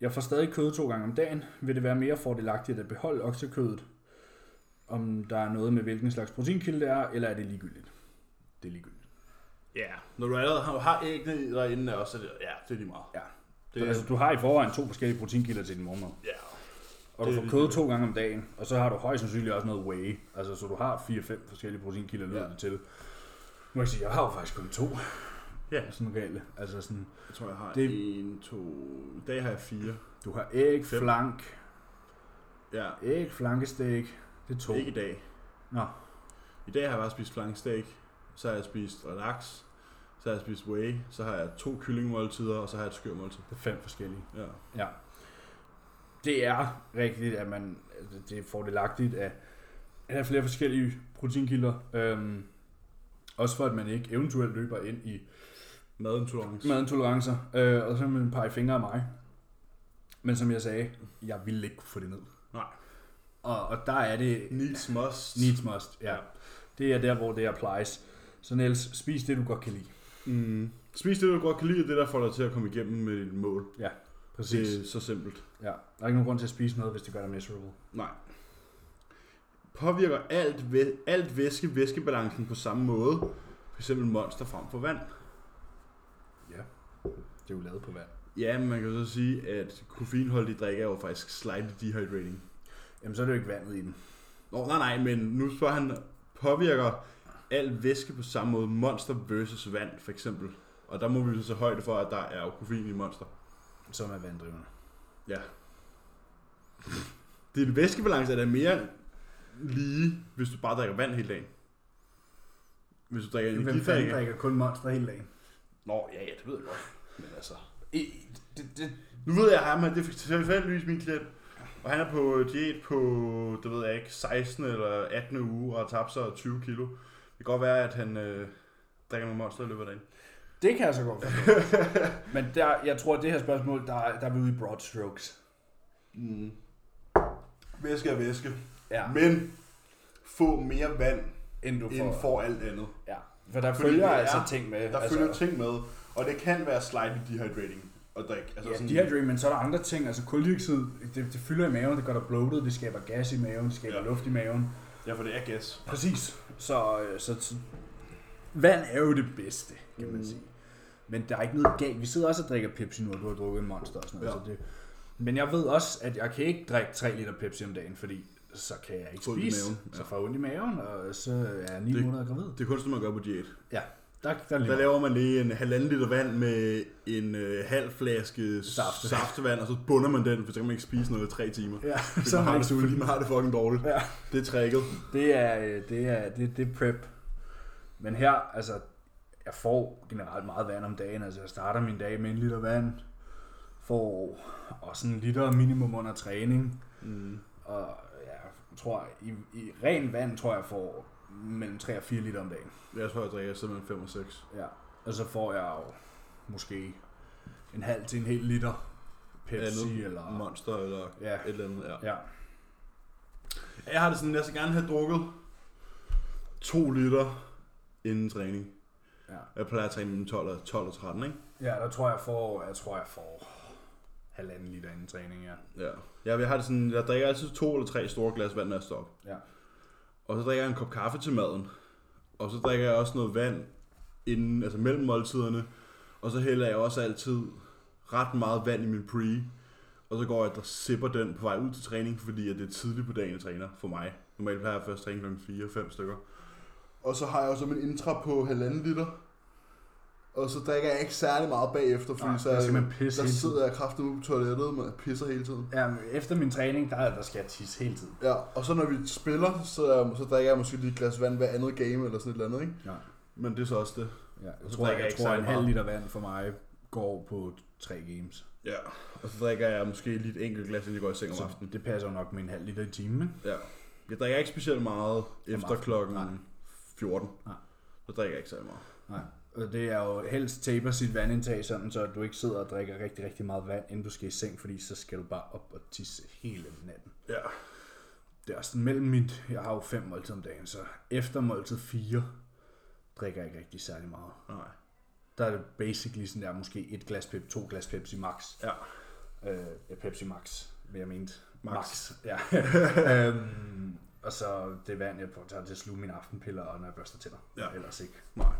[SPEAKER 2] Jeg får stadig kød to gange om dagen. Vil det være mere fordelagtigt at beholde oksekødet, om der er noget med hvilken slags proteinkilde det er, eller er det ligegyldigt? Det er ligegyldigt.
[SPEAKER 1] Ja, når du allerede har, har æggene i derinde også, så er det, ja, det er lige meget.
[SPEAKER 2] Ja,
[SPEAKER 1] Det,
[SPEAKER 2] Det, altså, du har i forvejen to forskellige proteinkilder til din morgenmad.
[SPEAKER 1] ja.
[SPEAKER 2] Og du
[SPEAKER 1] Det er
[SPEAKER 2] får
[SPEAKER 1] lige
[SPEAKER 2] kød to gange om dagen, og så har du højst sandsynligt også noget whey. Altså, så du har 4-5 forskellige proteinkilder lyder
[SPEAKER 1] Ja.
[SPEAKER 2] det til. Nu kan jeg sige, jeg har jo faktisk kun to.
[SPEAKER 1] Ja.
[SPEAKER 2] [laughs] Sådan reelle. Altså sådan,
[SPEAKER 1] Jeg tror, jeg har
[SPEAKER 2] Det-
[SPEAKER 1] det... en, to... I dag har jeg fire.
[SPEAKER 2] du har æg,
[SPEAKER 1] Fem.
[SPEAKER 2] flank,
[SPEAKER 1] Ja,
[SPEAKER 2] æg, flankestek. Det er to.
[SPEAKER 1] ikke i dag.
[SPEAKER 2] Nå,
[SPEAKER 1] I dag har jeg bare spist flanksteak, så har jeg spist relax, så har jeg spist whey, så har jeg to kyllingmåltider, og så har jeg et skørmåltid.
[SPEAKER 2] det er fem forskellige.
[SPEAKER 1] Ja.
[SPEAKER 2] Ja. Det er rigtigt, at man, altså, det er fordelagtigt at at have flere forskellige proteinkilder. Øhm, også for, at man ikke eventuelt løber ind i
[SPEAKER 1] Madintolerance.
[SPEAKER 2] madintolerancer, øh, og så med en par fingre af mig. Men som jeg sagde, jeg ville ikke kunne få det ned.
[SPEAKER 1] Nej.
[SPEAKER 2] Og, og der er det
[SPEAKER 1] Needs must.
[SPEAKER 2] needs must, ja. Det er der, hvor det applies. Så Niels, spis det, du godt kan lide.
[SPEAKER 1] Mm. Spis det, du godt kan lide, og det der får dig til at komme igennem med dit mål. Det er så simpelt.
[SPEAKER 2] Ja. Der er ikke nogen grund til at spise noget, hvis det gør dig miserable.
[SPEAKER 1] Nej. Påvirker alt, væ- alt væske væskebalancen på samme måde? For eksempel monster frem for vand.
[SPEAKER 2] Ja. Det er jo lavet på vand.
[SPEAKER 1] Ja, men man kan jo så sige, at koffeinholdige drikke er jo faktisk slightly dehydrating.
[SPEAKER 2] Jamen, så er det jo ikke vandet i den.
[SPEAKER 1] Nå, nej, nej, men nu spørger han, påvirker alt væske på samme måde monster versus vand, for eksempel? Og der må vi jo så tage højde for, at der er jo koffein i monster.
[SPEAKER 2] Som er vanddrivende.
[SPEAKER 1] Din væskebalance er da mere lige, hvis du bare drikker vand hele dagen. Hvis du drikker energidrikke.
[SPEAKER 2] drikker kun monster hele dagen?
[SPEAKER 1] Nå, ja, ja, det ved jeg godt. Men altså,
[SPEAKER 2] I, det, det,
[SPEAKER 1] Nu ved jeg ham, at det er tilfældigvis min klient. Og han er på diæt på, det ved jeg ikke, 16 eller 18 uge og har tabt sig 20 kilo. Det kan godt være, at han øh, drikker nogle monster i løbet af dagen.
[SPEAKER 2] det kan jeg så
[SPEAKER 1] [laughs]
[SPEAKER 2] godt forstå. Men der, jeg tror, at det her spørgsmål, der, er- der er vi ude i broad strokes.
[SPEAKER 1] Mm. Væske er væske.
[SPEAKER 2] Ja.
[SPEAKER 1] Men få mere vand
[SPEAKER 2] End du får.
[SPEAKER 1] end for alt andet.
[SPEAKER 2] Ja, for der
[SPEAKER 1] Fordi
[SPEAKER 2] følger
[SPEAKER 1] det er-
[SPEAKER 2] altså ting med.
[SPEAKER 1] Der
[SPEAKER 2] altså,
[SPEAKER 1] følger ting med, og det kan være slightly dehydrating at drikke. Altså
[SPEAKER 2] ja,
[SPEAKER 1] sådan,
[SPEAKER 2] dehydrate, men så er der andre ting. Altså koldioxid, det, det fylder i maven, det gør dig bloated, det skaber gas i maven, det skaber ja.
[SPEAKER 1] Ja.
[SPEAKER 2] luft i maven.
[SPEAKER 1] ja, for det er gas. Mm.
[SPEAKER 2] Præcis. Så, øh, så, så vand er jo det bedste, kan man sige. Men der er ikke noget galt. Vi sidder også og drikker Pepsi nu, og du har drukket en monster og sådan noget.
[SPEAKER 1] Ja.
[SPEAKER 2] Ja. Så det. Men jeg ved også, at jeg kan ikke drikke 3 liter Pepsi om dagen, fordi så kan jeg ikke
[SPEAKER 1] Få ondt i
[SPEAKER 2] spise.
[SPEAKER 1] maven, ja.
[SPEAKER 2] Så får jeg ondt i maven, og så er jeg 9
[SPEAKER 1] Det-
[SPEAKER 2] måneder gravid.
[SPEAKER 1] Det er kunst, man gør på diæt.
[SPEAKER 2] Ja, der, der
[SPEAKER 1] Der
[SPEAKER 2] er lige meget.
[SPEAKER 1] laver man lige en halvanden liter vand med en øh, halv flaske
[SPEAKER 2] Saft.
[SPEAKER 1] saft. saftevand, og så bunder man den, for så kan man ikke spise noget i tre [laughs] timer.
[SPEAKER 2] Ja,
[SPEAKER 1] Fordi
[SPEAKER 2] så
[SPEAKER 1] man
[SPEAKER 2] har
[SPEAKER 1] har
[SPEAKER 2] jeg
[SPEAKER 1] det, fordi man har det fucking dårligt.
[SPEAKER 2] Ja.
[SPEAKER 1] Det er tricket.
[SPEAKER 2] Det er, øh, det er, det, det er prep. Men her, altså, jeg får generelt meget vand om dagen. Altså, jeg starter min dag med en liter vand. Får også en liter minimum under træning.
[SPEAKER 1] Mm.
[SPEAKER 2] Og jeg tror, i, i ren vand, tror jeg, jeg får mellem 3 og 4 liter om dagen.
[SPEAKER 1] Jeg tror, jeg drikker simpelthen 5 og 6.
[SPEAKER 2] Ja. Og så får jeg jo måske en halv til en hel liter Pepsi
[SPEAKER 1] Andet
[SPEAKER 2] eller...
[SPEAKER 1] Monster eller
[SPEAKER 2] Ja.
[SPEAKER 1] et eller andet. Ah. Ja.
[SPEAKER 2] ja.
[SPEAKER 1] Jeg har det sådan, jeg skal gerne have drukket 2 liter inden træning.
[SPEAKER 2] Ja.
[SPEAKER 1] Jeg plejer at træne mellem 12 og, 12 og 13, ikke?
[SPEAKER 2] Ja, der tror jeg, får, jeg tror, jeg får halvanden liter inden træning, ja.
[SPEAKER 1] Ja. Jeg, jeg har det sådan, jeg drikker altid to eller tre store glas vand, når jeg står op.
[SPEAKER 2] ja.
[SPEAKER 1] Og så drikker jeg en kop kaffe til maden. Og så drikker jeg også noget vand inden, altså mellem måltiderne. Og så hælder jeg også altid ret meget vand i min pre. Og så går jeg og sipper den på vej ud til træning, fordi at det er tidligt på dagen, jeg træner for mig. Normalt plejer jeg først at træne kl. 4-5 stykker. Og så har jeg også en intra på halvanden liter. Og så drikker jeg ikke særlig meget bagefter, fordi
[SPEAKER 2] Nej,
[SPEAKER 1] så
[SPEAKER 2] der
[SPEAKER 1] er-
[SPEAKER 2] skal man pisse
[SPEAKER 1] der
[SPEAKER 2] hele tiden.
[SPEAKER 1] sidder jeg kraftigt ude på toilettet og pisser hele tiden.
[SPEAKER 2] Ja, men efter min træning, der, der skal jeg tisse hele tiden.
[SPEAKER 1] Ja, og så når vi spiller, så, så drikker jeg måske lige et glas vand hver andet game eller sådan et eller andet, ikke?
[SPEAKER 2] Ja.
[SPEAKER 1] Men det er så også det.
[SPEAKER 2] ja jeg
[SPEAKER 1] Så drikker
[SPEAKER 2] tror, jeg,
[SPEAKER 1] jeg
[SPEAKER 2] jeg
[SPEAKER 1] ikke
[SPEAKER 2] tror en
[SPEAKER 1] særlig
[SPEAKER 2] halv
[SPEAKER 1] meget.
[SPEAKER 2] liter vand for mig går på tre games.
[SPEAKER 1] Ja, og så drikker jeg måske lige et enkelt glas, inden jeg går i seng om
[SPEAKER 2] Så
[SPEAKER 1] aftenen.
[SPEAKER 2] det passer jo nok med en halv liter i timen. ikke?
[SPEAKER 1] Ja. Jeg drikker ikke specielt meget efter
[SPEAKER 2] aftenen,
[SPEAKER 1] klokken
[SPEAKER 2] nej.
[SPEAKER 1] 14.
[SPEAKER 2] Nej.
[SPEAKER 1] Så drikker jeg ikke særlig meget.
[SPEAKER 2] Nej. Og det er jo helst taper sit vandindtag, sådan så du ikke sidder og drikker rigtig, rigtig meget vand, inden du skal i seng, fordi så skal du bare op og tisse hele natten.
[SPEAKER 1] Ja.
[SPEAKER 2] Det er også sådan mellem mit, jeg har jo fem måltider om dagen, så efter måltid fire, drikker jeg ikke rigtig særlig meget.
[SPEAKER 1] Nej.
[SPEAKER 2] Der er det basically sådan der, måske et glas Pepsi, to glas Pepsi max.
[SPEAKER 1] Ja.
[SPEAKER 2] Øh, ja, Pepsi Max, hvad jeg mente.
[SPEAKER 1] Max. [laughs]
[SPEAKER 2] Ja. øhm, og så det vand, jeg tager til at sluge mine aftenpiller, og når jeg børster tænder.
[SPEAKER 1] Ja.
[SPEAKER 2] Ellers ikke.
[SPEAKER 1] Nej.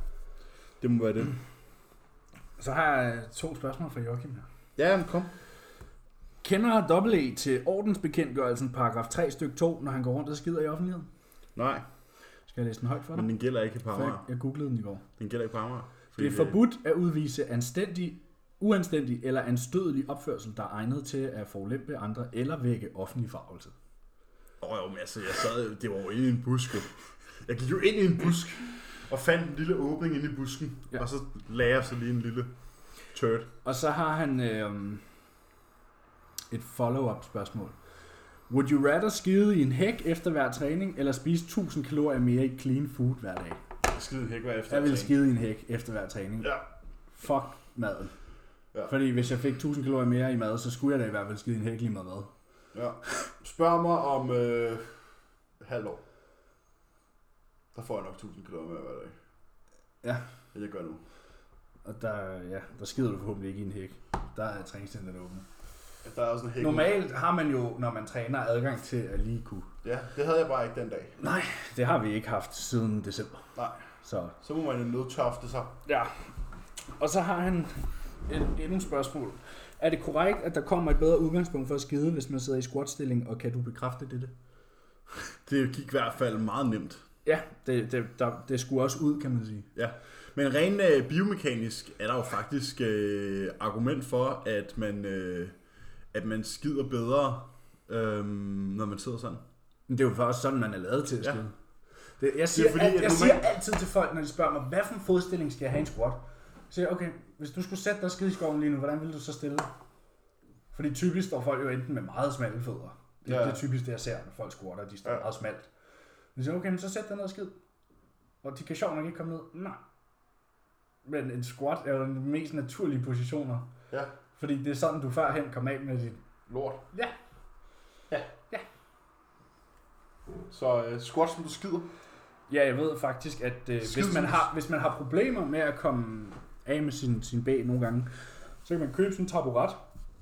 [SPEAKER 1] Det må være det.
[SPEAKER 2] Så har jeg øh, to spørgsmål fra Joachim her.
[SPEAKER 1] Ja, men kom.
[SPEAKER 2] Kender dobbelt E til ordensbekendtgørelsen paragraf 3 stykke 2, når han går rundt og skider i offentligheden?
[SPEAKER 1] Nej,
[SPEAKER 2] Skal jeg læse den højt for dig?
[SPEAKER 1] men den gælder ikke på
[SPEAKER 2] For jeg,
[SPEAKER 1] Amager.
[SPEAKER 2] jeg googlede den i går.
[SPEAKER 1] Den gælder ikke på Amager.
[SPEAKER 2] Det
[SPEAKER 1] Fordi, øh,
[SPEAKER 2] er forbudt at udvise anstændig, uanstændig eller anstødelig opførsel, der er egnet til at forulempe andre eller vække offentlig farvelse.
[SPEAKER 1] Åh, oh, jo, men altså, jeg sad, det var jo inde i en busk. jo. Jeg gik jo ind i en busk, og fandt en lille åbning inde i busken.
[SPEAKER 2] Ja.
[SPEAKER 1] Ja. Og så lagde jeg så lige en lille turd.
[SPEAKER 2] Og så har han øh, et follow-up spørgsmål. Would you rather skide i en hæk efter hver træning, eller spise 1000 kalorier mere i clean food hver dag?
[SPEAKER 1] Skide en hæk var efter.
[SPEAKER 2] Jeg ville
[SPEAKER 1] træning.
[SPEAKER 2] skide i en hæk efter hver træning.
[SPEAKER 1] Ja.
[SPEAKER 2] Fuck maden.
[SPEAKER 1] Ja.
[SPEAKER 2] Fordi hvis jeg fik 1000 kalorier mere i mad, så skulle jeg da i hvert fald skide i en hæk lige meget hvad.
[SPEAKER 1] Ja. Spørg mig om øh, halvt år. Der får jeg nok 1000 km hver dag.
[SPEAKER 2] Ja.
[SPEAKER 1] Jeg gør nu.
[SPEAKER 2] Og der, ja, der skider du forhåbentlig ikke i en hæk. Der er træningscenteret åbent.
[SPEAKER 1] Der er også en hæk.
[SPEAKER 2] Normalt har man jo, når man træner, adgang til at lige kunne.
[SPEAKER 1] Ja, det havde jeg bare ikke den dag.
[SPEAKER 2] Nej, det har vi ikke haft siden december.
[SPEAKER 1] Nej.
[SPEAKER 2] Så
[SPEAKER 1] Så må man jo nødtørfte sig.
[SPEAKER 2] Ja. Og så har han et, endnu et spørgsmål. Er det korrekt, at der kommer et bedre udgangspunkt for at skide, hvis man sidder i squatstilling, og kan du bekræfte dette?
[SPEAKER 1] Det gik i hvert fald meget nemt.
[SPEAKER 2] Ja, det, det, der, det skulle også ud, kan man sige.
[SPEAKER 1] Ja. Men rent øh, biomekanisk er der jo faktisk øh, argument for, at man, øh, at man skider bedre, øh, når man sidder sådan.
[SPEAKER 2] Men det er jo faktisk sådan, man er lavet til at
[SPEAKER 1] Ja.
[SPEAKER 2] skide. Det, jeg siger, det
[SPEAKER 1] fordi,
[SPEAKER 2] fordi,
[SPEAKER 1] at
[SPEAKER 2] jeg
[SPEAKER 1] normalt-
[SPEAKER 2] siger altid til folk, når de spørger mig, hvad for en fodstilling skal jeg have i en squat? Så siger jeg, okay, hvis du skulle sætte dig og skide i skoven lige nu, hvordan ville du så stille dig? Fordi typisk står folk jo enten med meget smalle fødder. Det, ja.
[SPEAKER 1] Ja.
[SPEAKER 2] det er typisk det, jeg ser, når folk squatter, de står ja.
[SPEAKER 1] Ja.
[SPEAKER 2] meget smalt. Men så siger jeg, okay, men så sæt dig ned og skid. Og de kan sjovt nok ikke komme ned. Nej. Men en squat er jo den mest naturlige positioner.
[SPEAKER 1] Ja.
[SPEAKER 2] Fordi det er sådan, du førhen kom af med dit...
[SPEAKER 1] Lort.
[SPEAKER 2] Ja,
[SPEAKER 1] Så øh, squat, som du skider.
[SPEAKER 2] Ja, jeg ved faktisk, at øh, hvis,
[SPEAKER 1] Skide
[SPEAKER 2] man
[SPEAKER 1] sus.
[SPEAKER 2] har, hvis man har problemer med at komme af med sin, sin bag nogle gange, så kan man købe sådan en taburet,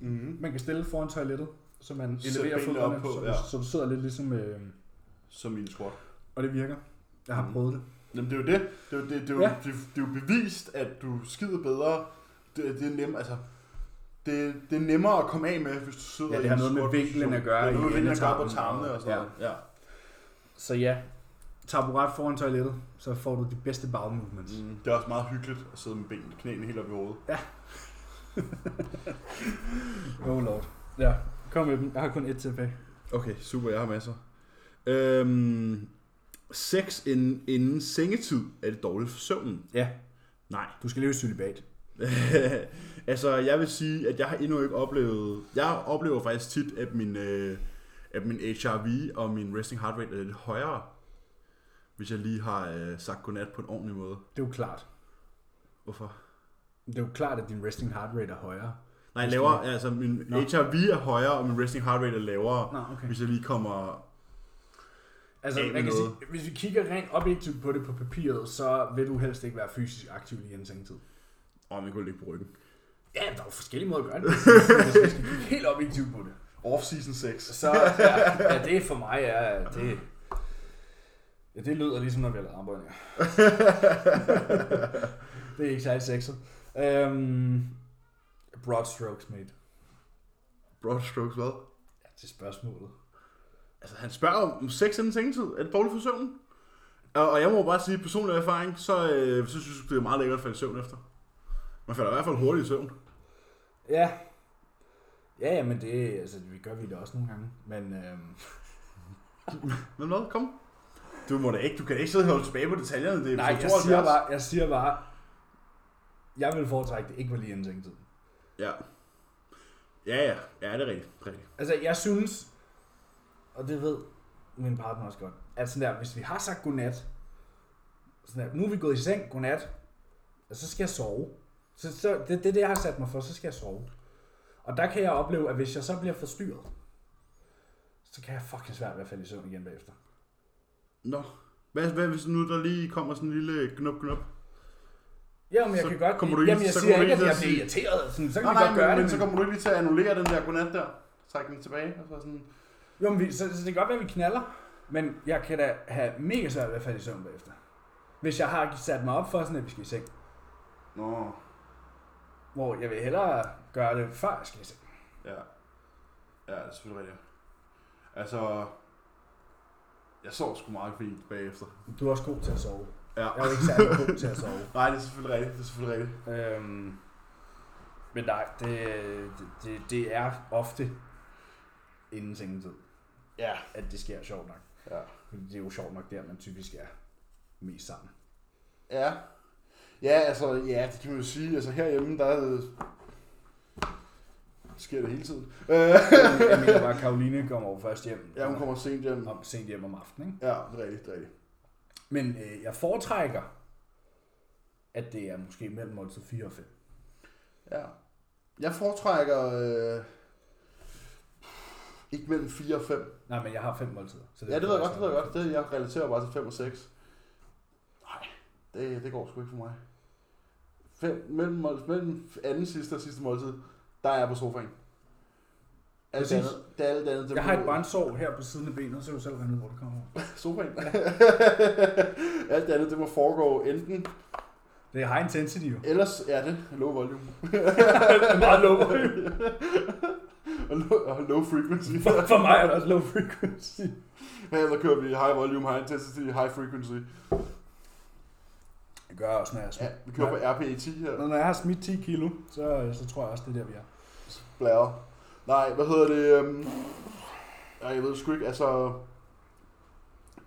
[SPEAKER 1] Mm-hmm.
[SPEAKER 2] man kan stille foran toilettet, så man
[SPEAKER 1] Sæt
[SPEAKER 2] eleverer
[SPEAKER 1] benene
[SPEAKER 2] fødderne,
[SPEAKER 1] op på,
[SPEAKER 2] så,
[SPEAKER 1] ja.
[SPEAKER 2] ja. så du sidder lidt ligesom... Øh,
[SPEAKER 1] Som i en squat.
[SPEAKER 2] og det virker. Jeg har
[SPEAKER 1] Mhm.
[SPEAKER 2] prøvet det.
[SPEAKER 1] Jamen det er jo det. Det er jo, det, det er jo,
[SPEAKER 2] Ja.
[SPEAKER 1] ja. det, det er jo bevist, at du skider bedre, det, det er nemt, altså, det, det er nemmere at komme af med, hvis du sidder
[SPEAKER 2] Ja, det
[SPEAKER 1] i
[SPEAKER 2] har
[SPEAKER 1] en
[SPEAKER 2] noget med
[SPEAKER 1] sort
[SPEAKER 2] vinklen
[SPEAKER 1] position.
[SPEAKER 2] at gøre
[SPEAKER 1] Det er noget med
[SPEAKER 2] i
[SPEAKER 1] vinklen at gøre på
[SPEAKER 2] endetarmen.
[SPEAKER 1] tarmene og sådan
[SPEAKER 2] Ja.
[SPEAKER 1] noget. Ja.
[SPEAKER 2] Så ja, taburet foran toilettet, så får du de bedste bowel movements. Mm.
[SPEAKER 1] Mm, det er også meget hyggeligt at sidde med benene, knæene helt op i hovedet. Mm.
[SPEAKER 2] Oh lord. Ja, kom med dem. Jeg har kun et tilbage.
[SPEAKER 1] Okay, super, jeg har masser. Øhm, sex inden, inden sengetid er det dårligt for søvnen. [laughs]
[SPEAKER 2] Ja,
[SPEAKER 1] Nej.
[SPEAKER 2] du skal leve i celibat.
[SPEAKER 1] altså, jeg vil sige, at jeg har endnu ikke oplevet... Jeg oplever faktisk tit, at min, øh, at min HRV og min resting heart rate er lidt højere, hvis jeg lige har øh, sagt godnat på en ordentlig måde.
[SPEAKER 2] Det er jo klart.
[SPEAKER 1] Hvorfor?
[SPEAKER 2] Det er jo klart, at din resting heart rate er højere.
[SPEAKER 1] Nej, lavere, altså min
[SPEAKER 2] Nå.
[SPEAKER 1] HRV er højere, og min resting heart rate er lavere,
[SPEAKER 2] Nå, okay.
[SPEAKER 1] hvis jeg lige kommer...
[SPEAKER 2] Altså,
[SPEAKER 1] af
[SPEAKER 2] man
[SPEAKER 1] med
[SPEAKER 2] kan
[SPEAKER 1] noget.
[SPEAKER 2] sige, hvis vi kigger rent objektivt på det på papiret, så vil du helst ikke være fysisk aktiv lige inden sengetid.
[SPEAKER 1] Åh, oh, man kunne ligge på ryggen.
[SPEAKER 2] Ja, der er jo forskellige måder at [laughs] gøre det. på. Hvis vi skal kigge helt objektivt på det.
[SPEAKER 1] Off-season sex.
[SPEAKER 2] Så ja, ja det for mig er, at det, ja, det lyder ligesom, når vi har lavet [laughs] armbøjninger. det er ikke særlig sexet. Øhm, broad strokes, mate.
[SPEAKER 1] Broad strokes, hvad?
[SPEAKER 2] Ja, til spørgsmålet.
[SPEAKER 1] Altså, han spørger om sex inden sengetid. Er det dårligt for søvnen? Og, og jeg må bare sige, at personlig erfaring, så, øh, så synes jeg, det er meget lækkert at falde i søvn efter. Man falder i hvert fald hurtigt i søvn.
[SPEAKER 2] Ja. Ja, ja, men det, altså, vi gør vi det også nogle gange. Men øhm,
[SPEAKER 1] Men hvad? Kom. Du må da ikke, du kan da ikke sidde og holde tilbage på detaljerne. Det er
[SPEAKER 2] nej,
[SPEAKER 1] episode
[SPEAKER 2] jeg siger,
[SPEAKER 1] 72.
[SPEAKER 2] bare, jeg siger bare, jeg vil foretrække det ikke var lige inden sengetid.
[SPEAKER 1] Ja. Ja, ja. Ja, det er rigtigt. rigtigt.
[SPEAKER 2] Altså, jeg synes, og det ved min partner også godt, at sådan der, hvis vi har sagt godnat, sådan der, nu er vi gået i seng, godnat, og så skal jeg sove. Så, så det, det er det, jeg har sat mig for, så skal jeg sove. Og der kan jeg opleve, at hvis jeg så bliver forstyrret, så kan jeg fucking svært ved at falde i søvn igen bagefter.
[SPEAKER 1] Nå. Hvad, hvad hvis nu der lige kommer sådan en lille gnup gnup?
[SPEAKER 2] Ja, men jeg
[SPEAKER 1] Så
[SPEAKER 2] kan godt...
[SPEAKER 1] kommer du ikke-
[SPEAKER 2] jamen, jeg
[SPEAKER 1] så
[SPEAKER 2] siger
[SPEAKER 1] kommer du
[SPEAKER 2] ikke, at
[SPEAKER 1] ikke
[SPEAKER 2] jeg
[SPEAKER 1] til at
[SPEAKER 2] bliver irriteret. Sådan, så kan
[SPEAKER 1] Nej,
[SPEAKER 2] nej, vi
[SPEAKER 1] nej,
[SPEAKER 2] godt gøre
[SPEAKER 1] men,
[SPEAKER 2] det.
[SPEAKER 1] men, så kommer du ikke lige til at annullere den der godnat der. Træk den tilbage. Og så sådan.
[SPEAKER 2] Jo, men vi, så, så det kan godt være, at vi knaller, men jeg kan da have mega svært ved at falde i søvn bagefter. Hvis jeg har sat mig op for sådan, at vi skal i seng,
[SPEAKER 1] Nå.
[SPEAKER 2] hvor jeg vil hellere gøre det før jeg skal i seng.
[SPEAKER 1] Ja. Ja, det er selvfølgelig rigtigt. Altså, jeg sov sgu meget fint bagefter.
[SPEAKER 2] Du er også god til at sove.
[SPEAKER 1] Ja.
[SPEAKER 2] Jeg er jo ikke særlig god til at sove.
[SPEAKER 1] Nej, det er selvfølgelig rigtigt. Det er selvfølgelig rigtigt.
[SPEAKER 2] Øhm, men nej, det, det- det, det er ofte inden sengetid,
[SPEAKER 1] Ja.
[SPEAKER 2] at det sker sjovt nok.
[SPEAKER 1] Ja.
[SPEAKER 2] Fordi det er jo sjovt nok der, man typisk er mest
[SPEAKER 1] [laughs]
[SPEAKER 2] sammen.
[SPEAKER 1] Ja. Ja, altså, ja, det kan man jo sige. Altså, herhjemme, der øh, sker det hele tiden. Øh,
[SPEAKER 2] Jeg mener bare, Karoline kommer over først hjem.
[SPEAKER 1] ja, hun kommer sent hjem.
[SPEAKER 2] Om, sent hjem om aftenen, ikke?
[SPEAKER 1] Ja, det er rigtigt, det er rigtigt.
[SPEAKER 2] Men øh, jeg foretrækker, at det er måske mellem måltid 4 og 5.
[SPEAKER 1] Ja. Jeg foretrækker... Øh, ikke mellem 4 og 5.
[SPEAKER 2] Nej, men jeg har 5 måltider. Så
[SPEAKER 1] Ja, det ved jeg godt, det ved jeg godt. Det, jeg relaterer bare til 5 og 6. Nej, det, det går sgu ikke for mig. Fem, mellem, mål- mellem anden sidste og sidste måltid, der er jeg på sofaen. Alt det
[SPEAKER 2] Præcis.
[SPEAKER 1] andet, det er alt det andet. det
[SPEAKER 2] Jeg har
[SPEAKER 1] må-
[SPEAKER 2] et brandsår her på siden af benet, så kan du selv regne ud, hvor det kommer over.
[SPEAKER 1] Sofaen. [laughs] alt det andet, det må foregå enten,
[SPEAKER 2] Det er high intensity jo. [laughs]
[SPEAKER 1] ellers er det low volume.
[SPEAKER 2] det er [laughs] meget low frequency.
[SPEAKER 1] [laughs] og low, og low frequency.
[SPEAKER 2] For, for
[SPEAKER 1] [laughs]
[SPEAKER 2] mig er det også low frequency.
[SPEAKER 1] Her kører vi high volume, high intensity, high frequency.
[SPEAKER 2] Det gør jeg også, når jeg er
[SPEAKER 1] Ja,
[SPEAKER 2] smidt.
[SPEAKER 1] vi kører på RPE10 her.
[SPEAKER 2] Når jeg har smidt 10 kilo, så, så tror jeg også, det er der, vi er.
[SPEAKER 1] Blære. Nej, hvad hedder det? Øhm... Nej, jeg ved sgu ikke, altså...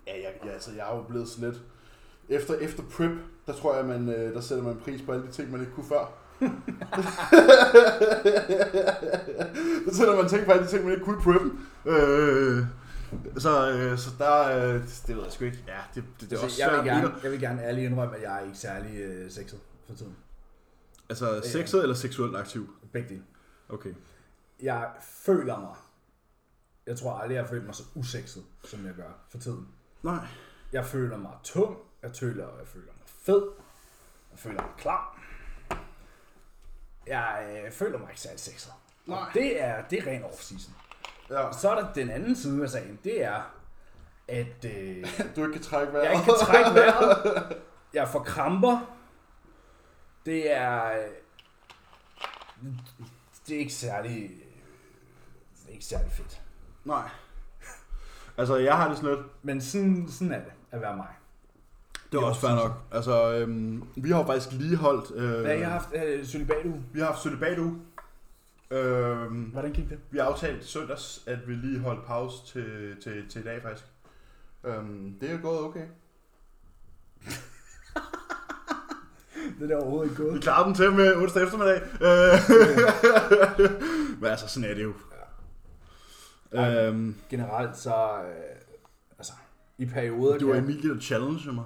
[SPEAKER 1] Ja, jeg, ja, altså, jeg er jo blevet sådan lidt... Efter, efter prep, der tror jeg, man, øh, der sætter man pris på alle de ting, man ikke kunne før. [laughs] der sætter man ting på alle de ting, man ikke kunne i preppen. Øh, så, øh, så der... Øh, det, det ved jeg sgu ikke. Ja, det, det, det er også
[SPEAKER 2] Altså, jeg, vil
[SPEAKER 1] svært.
[SPEAKER 2] gerne,
[SPEAKER 1] lige at-
[SPEAKER 2] jeg vil gerne ærligt indrømme, at jeg er ikke særlig øh, sexet for tiden.
[SPEAKER 1] Altså, sexet eller seksuelt aktiv?
[SPEAKER 2] Begge dele.
[SPEAKER 1] Okay.
[SPEAKER 2] Jeg føler mig. Jeg tror aldrig, jeg har følt mig så usexet, som jeg gør for tiden.
[SPEAKER 1] Nej.
[SPEAKER 2] Jeg føler mig tung, jeg føler, jeg føler mig fed, jeg føler mig klar. Jeg øh, føler mig ikke særlig sexet. Og
[SPEAKER 1] Nej.
[SPEAKER 2] Det er, det er ren off-season.
[SPEAKER 1] Ja,
[SPEAKER 2] Og så er der den anden side af sagen, det er, at øh,
[SPEAKER 1] du ikke kan trække vejret.
[SPEAKER 2] jeg ikke kan trække vejret, jeg får kramper, det er, øh, det er ikke særlig, øh, det er ikke særlig fedt.
[SPEAKER 1] Nej. [laughs] Altså, jeg har det sådan lidt.
[SPEAKER 2] Men sådan, sådan er det at være mig.
[SPEAKER 1] Det er
[SPEAKER 2] Jo,
[SPEAKER 1] også fair nok. Altså, øhm, vi har jo faktisk lige holdt... Øh,
[SPEAKER 2] Ja, jeg har haft øh, celibat
[SPEAKER 1] Vi har haft sølibat uge. Øhm,
[SPEAKER 2] Hvordan gik det?
[SPEAKER 1] vi har aftalt søndags, at vi lige holdt pause til, til, til i dag faktisk. Øhm, det er gået okay.
[SPEAKER 2] Det er der overhovedet ikke
[SPEAKER 1] Vi
[SPEAKER 2] gået.
[SPEAKER 1] klarer den til med onsdag eftermiddag. Øh, [laughs] Men altså, sådan er det jo.
[SPEAKER 2] Ja.
[SPEAKER 1] Øhm,
[SPEAKER 2] Generelt så, øh, altså, i perioder
[SPEAKER 1] det var
[SPEAKER 2] kan-
[SPEAKER 1] Emilie, der challengede mig.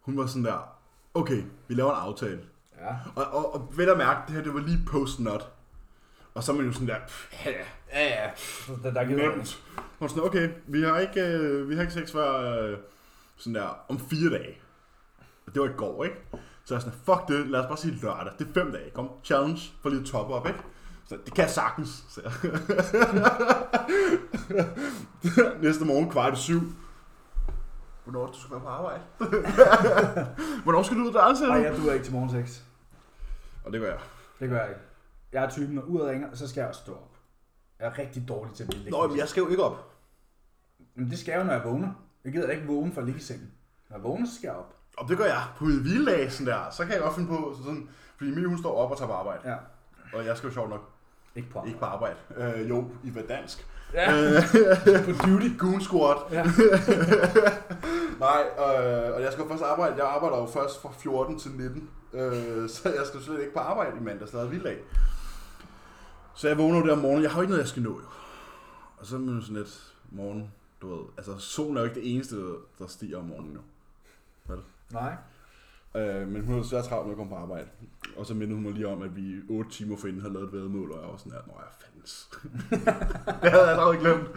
[SPEAKER 1] Hun var sådan der, okay, vi laver en aftale.
[SPEAKER 2] Ja.
[SPEAKER 1] Og, og, og vel at mærke, det her det var lige post-not. Og så er man jo sådan der, pff,
[SPEAKER 2] Ja, ja, ja. Der, der gider jeg.
[SPEAKER 1] nemt. Og sådan, okay, vi har ikke, øh, vi har ikke sex før øh, sådan der, om fire dage. Og det var i går, ikke? Så jeg er sådan, fuck det, lad os bare sige lørdag. Det er fem dage, kom, challenge, for lige at toppe op, ikke? Så det kan jeg sagtens, så jeg. [laughs] Næste morgen kvart i syv. Hvornår du skal være på arbejde? [laughs] Hvornår skal du ud af døren, siger
[SPEAKER 2] Nej,
[SPEAKER 1] du?
[SPEAKER 2] jeg duer ikke til morgensex.
[SPEAKER 1] Og det gør jeg.
[SPEAKER 2] Det gør jeg ikke. Jeg er typen, når uret ringer, så skal jeg også stå op. Jeg er rigtig dårlig til at ligge.
[SPEAKER 1] Nå, men jeg skal jo ikke op.
[SPEAKER 2] men det skal jeg jo, når jeg vågner. Jeg gider da ikke vågne for at ligge i sengen. Når jeg vågner, så skal jeg op.
[SPEAKER 1] Og det gør jeg på min hviledag, sådan der. Så kan jeg godt finde på, så sådan, fordi Emilie hun står op og tager på arbejde.
[SPEAKER 2] Ja,
[SPEAKER 1] Og jeg skal jo sjovt nok
[SPEAKER 2] ikke på.
[SPEAKER 1] ikke på arbejde. Øh, jo, i hvad dansk.
[SPEAKER 2] Ja,
[SPEAKER 1] Øh,
[SPEAKER 2] på duty.
[SPEAKER 1] Goon squad. [laughs]
[SPEAKER 2] [laughs] Ja.
[SPEAKER 1] Nej, øh, og jeg skal jo først arbejde. Jeg arbejder jo først fra 14 til 19. Øh, så jeg skal slet ikke på arbejde i mandags, der er vilddag. Så jeg vågner jo der om morgenen. Jeg har jo ikke noget, jeg skal nå jo. Og så er man jo sådan lidt morgen, du ved. Altså, solen er jo ikke det eneste, der stiger om morgenen nu.
[SPEAKER 2] Nej.
[SPEAKER 1] Øh, men hun havde svært travlt med at komme på arbejde. Og så mindede hun mig lige om, at vi 8 timer forinden havde lavet et vedmål, og jeg var sådan her, nå ja, fandens. [laughs] det havde jeg allerede glemt.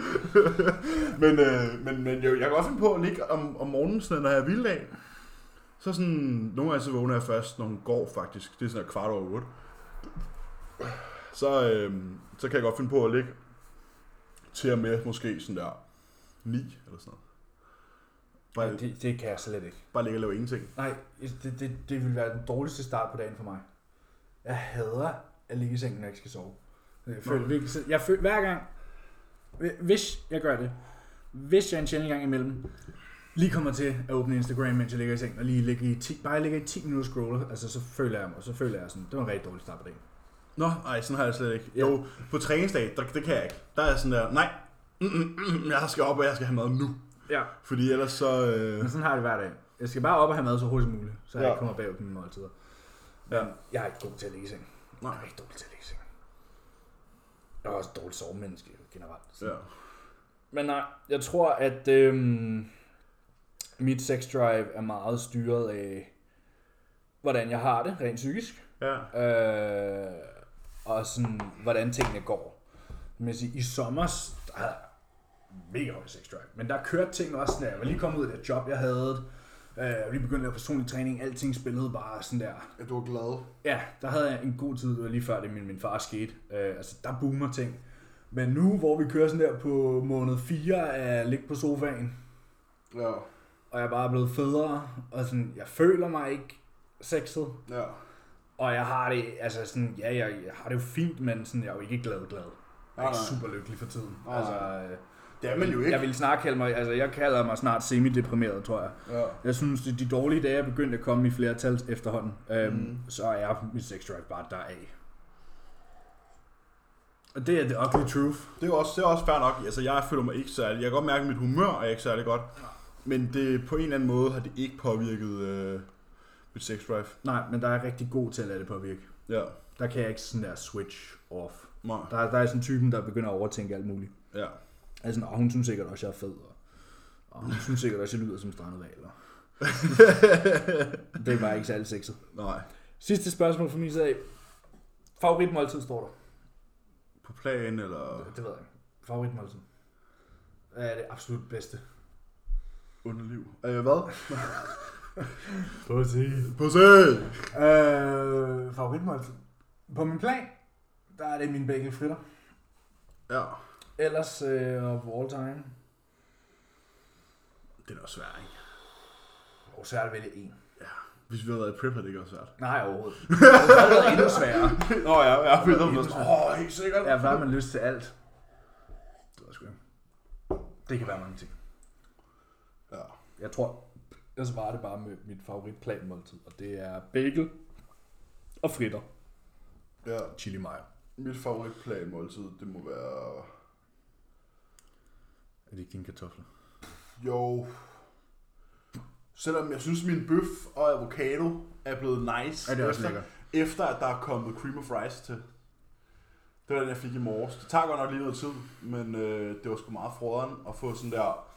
[SPEAKER 1] [laughs] men, øh, men, men jo, jeg kan også finde på at ligge om, om morgenen, sådan, når jeg er vilddag. Så sådan, nogle gange så vågner jeg først, når hun går faktisk. Det er sådan her kvart over 8. Så, øh, så kan jeg godt finde på at ligge til og med måske sådan der 9 eller sådan noget. Bare,
[SPEAKER 2] Det, det kan jeg slet ikke.
[SPEAKER 1] bare ligge og lave ingenting.
[SPEAKER 2] Nej, det, det, det vil være den dårligste start på dagen for mig. Jeg hader at ligge i sengen, når jeg ikke skal sove. Jeg føler, virkelig, så- jeg føler hver gang, hvis jeg gør det, hvis jeg en sjældent gang imellem lige kommer til at åbne Instagram, mens jeg ligger i sengen, og lige ligger i 10, bare ligger i 10 minutter og scroller, altså så føler jeg mig, og så føler jeg sådan, det var en rigtig dårlig start på dagen.
[SPEAKER 1] Nå, nej, sådan har jeg slet ikke.
[SPEAKER 2] Ja.
[SPEAKER 1] Jo, på træningsdag, der, det kan jeg ikke. Der er jeg sådan der, nej, mm, mm, mm, jeg skal op, og jeg skal have mad nu.
[SPEAKER 2] Ja.
[SPEAKER 1] Fordi ellers så... Øh,
[SPEAKER 2] Men sådan har jeg det hver dag. Jeg skal bare op og have mad så hurtigt som muligt, så jeg
[SPEAKER 1] Ja.
[SPEAKER 2] ikke kommer bagud på mine måltider. Ja. Jeg er ikke god til at ligge i sengen. Jeg er
[SPEAKER 1] nej.
[SPEAKER 2] ikke dårlig til at ligge i sengen. Jeg er også et dårligt sovemenneske generelt. Så.
[SPEAKER 1] Ja.
[SPEAKER 2] Men nej, jeg tror, at øhm, mit sex drive er meget styret af, hvordan jeg har det rent psykisk.
[SPEAKER 1] ja.
[SPEAKER 2] Øh, og sådan, hvordan tingene går. Men jeg siger, i sommer, der havde jeg mega høj sex drive. Men der kørte ting også sådan der. Jeg var lige kommet ud af det job, jeg havde. Øh, jeg var lige begyndt at lave personlig træning. Alting spillede bare sådan der.
[SPEAKER 1] At du er glad.
[SPEAKER 2] Ja, der havde jeg en god tid, det var lige før det min, min far skete. Øh, altså, der boomer ting. Men nu, hvor vi kører sådan der på måned 4, er jeg ligge på sofaen,
[SPEAKER 1] Ja,
[SPEAKER 2] og jeg er bare blevet federe, og sådan, jeg føler mig ikke sexet.
[SPEAKER 1] ja.
[SPEAKER 2] Og jeg har det, altså sådan, ja, jeg, jeg har det jo fint, men sådan, jeg er jo ikke glad glad. Jeg er
[SPEAKER 1] Nej,
[SPEAKER 2] ikke
[SPEAKER 1] nej.
[SPEAKER 2] super lykkelig for tiden.
[SPEAKER 1] Nej,
[SPEAKER 2] altså, øh,
[SPEAKER 1] Det er man jo ikke.
[SPEAKER 2] Jeg vil snart kalde mig, altså jeg kalder mig snart semideprimeret, tror jeg.
[SPEAKER 1] Ja.
[SPEAKER 2] Jeg synes, at de dårlige dage er begyndt at komme i flere tal efterhånden. Øhm,
[SPEAKER 1] Mm.
[SPEAKER 2] Så er mit sex drive bare deraf. Og det er the ugly truth.
[SPEAKER 1] Det er jo også, det er også fair nok. Altså, jeg føler mig ikke særlig... Jeg kan godt mærke, at mit humør er ikke særlig godt. Men det, på en eller anden måde har det ikke påvirket øh, mit sex drive.
[SPEAKER 2] Nej, men der er jeg rigtig god til at lade det påvirke.
[SPEAKER 1] Ja.
[SPEAKER 2] Der kan jeg ikke sådan der switch off.
[SPEAKER 1] Nej.
[SPEAKER 2] Der, er- der er sådan typen, der begynder at overtænke alt muligt.
[SPEAKER 1] Ja.
[SPEAKER 2] Altså, nå, hun synes sikkert også, jeg er fed. Og, og hun synes sikkert også, jeg lyder som strandet valer. det er bare ikke særlig sexet.
[SPEAKER 1] Nej.
[SPEAKER 2] Sidste spørgsmål fra min side af. Favoritmåltid står der.
[SPEAKER 1] På plan eller
[SPEAKER 2] Det ved jeg ikke. Favoritmåltid. Hvad er det absolut bedste?
[SPEAKER 1] underliv. Øh, hvad?
[SPEAKER 2] Pussy.
[SPEAKER 1] På se!
[SPEAKER 2] Øh, favoritmåltid. På min plan, der er det min bagel fritter.
[SPEAKER 1] Ja.
[SPEAKER 2] Ellers øh, of all time.
[SPEAKER 1] Det er da også svært, ikke?
[SPEAKER 2] Og så er det vel en.
[SPEAKER 1] Hvis vi havde været i prep, havde det ikke også været.
[SPEAKER 2] Nej, [laughs] overhovedet. Det har været endnu sværere.
[SPEAKER 1] Nå ja, jeg har fået Åh, helt sikkert.
[SPEAKER 2] Ja, for der har man lyst til alt.
[SPEAKER 1] Det ved jeg sgu ikke.
[SPEAKER 2] Det kan være mange ting.
[SPEAKER 1] Ja.
[SPEAKER 2] Jeg tror, jeg svarer det bare med mit favoritplanmåltid, og det er bagel og fritter.
[SPEAKER 1] ja.
[SPEAKER 2] Chili mayo.
[SPEAKER 1] Mit favoritplan måltid, det må være...
[SPEAKER 2] Er det ikke dine kartofler?
[SPEAKER 1] Jo... Selvom jeg synes, min bøf og avocado er blevet nice,
[SPEAKER 2] Ja, det er også
[SPEAKER 1] efter,
[SPEAKER 2] lækkert.
[SPEAKER 1] efter at der er kommet cream of rice til. Det var den, jeg fik i morges. Det tager godt nok lige noget tid, men øh, det var sgu meget froderen at få sådan der...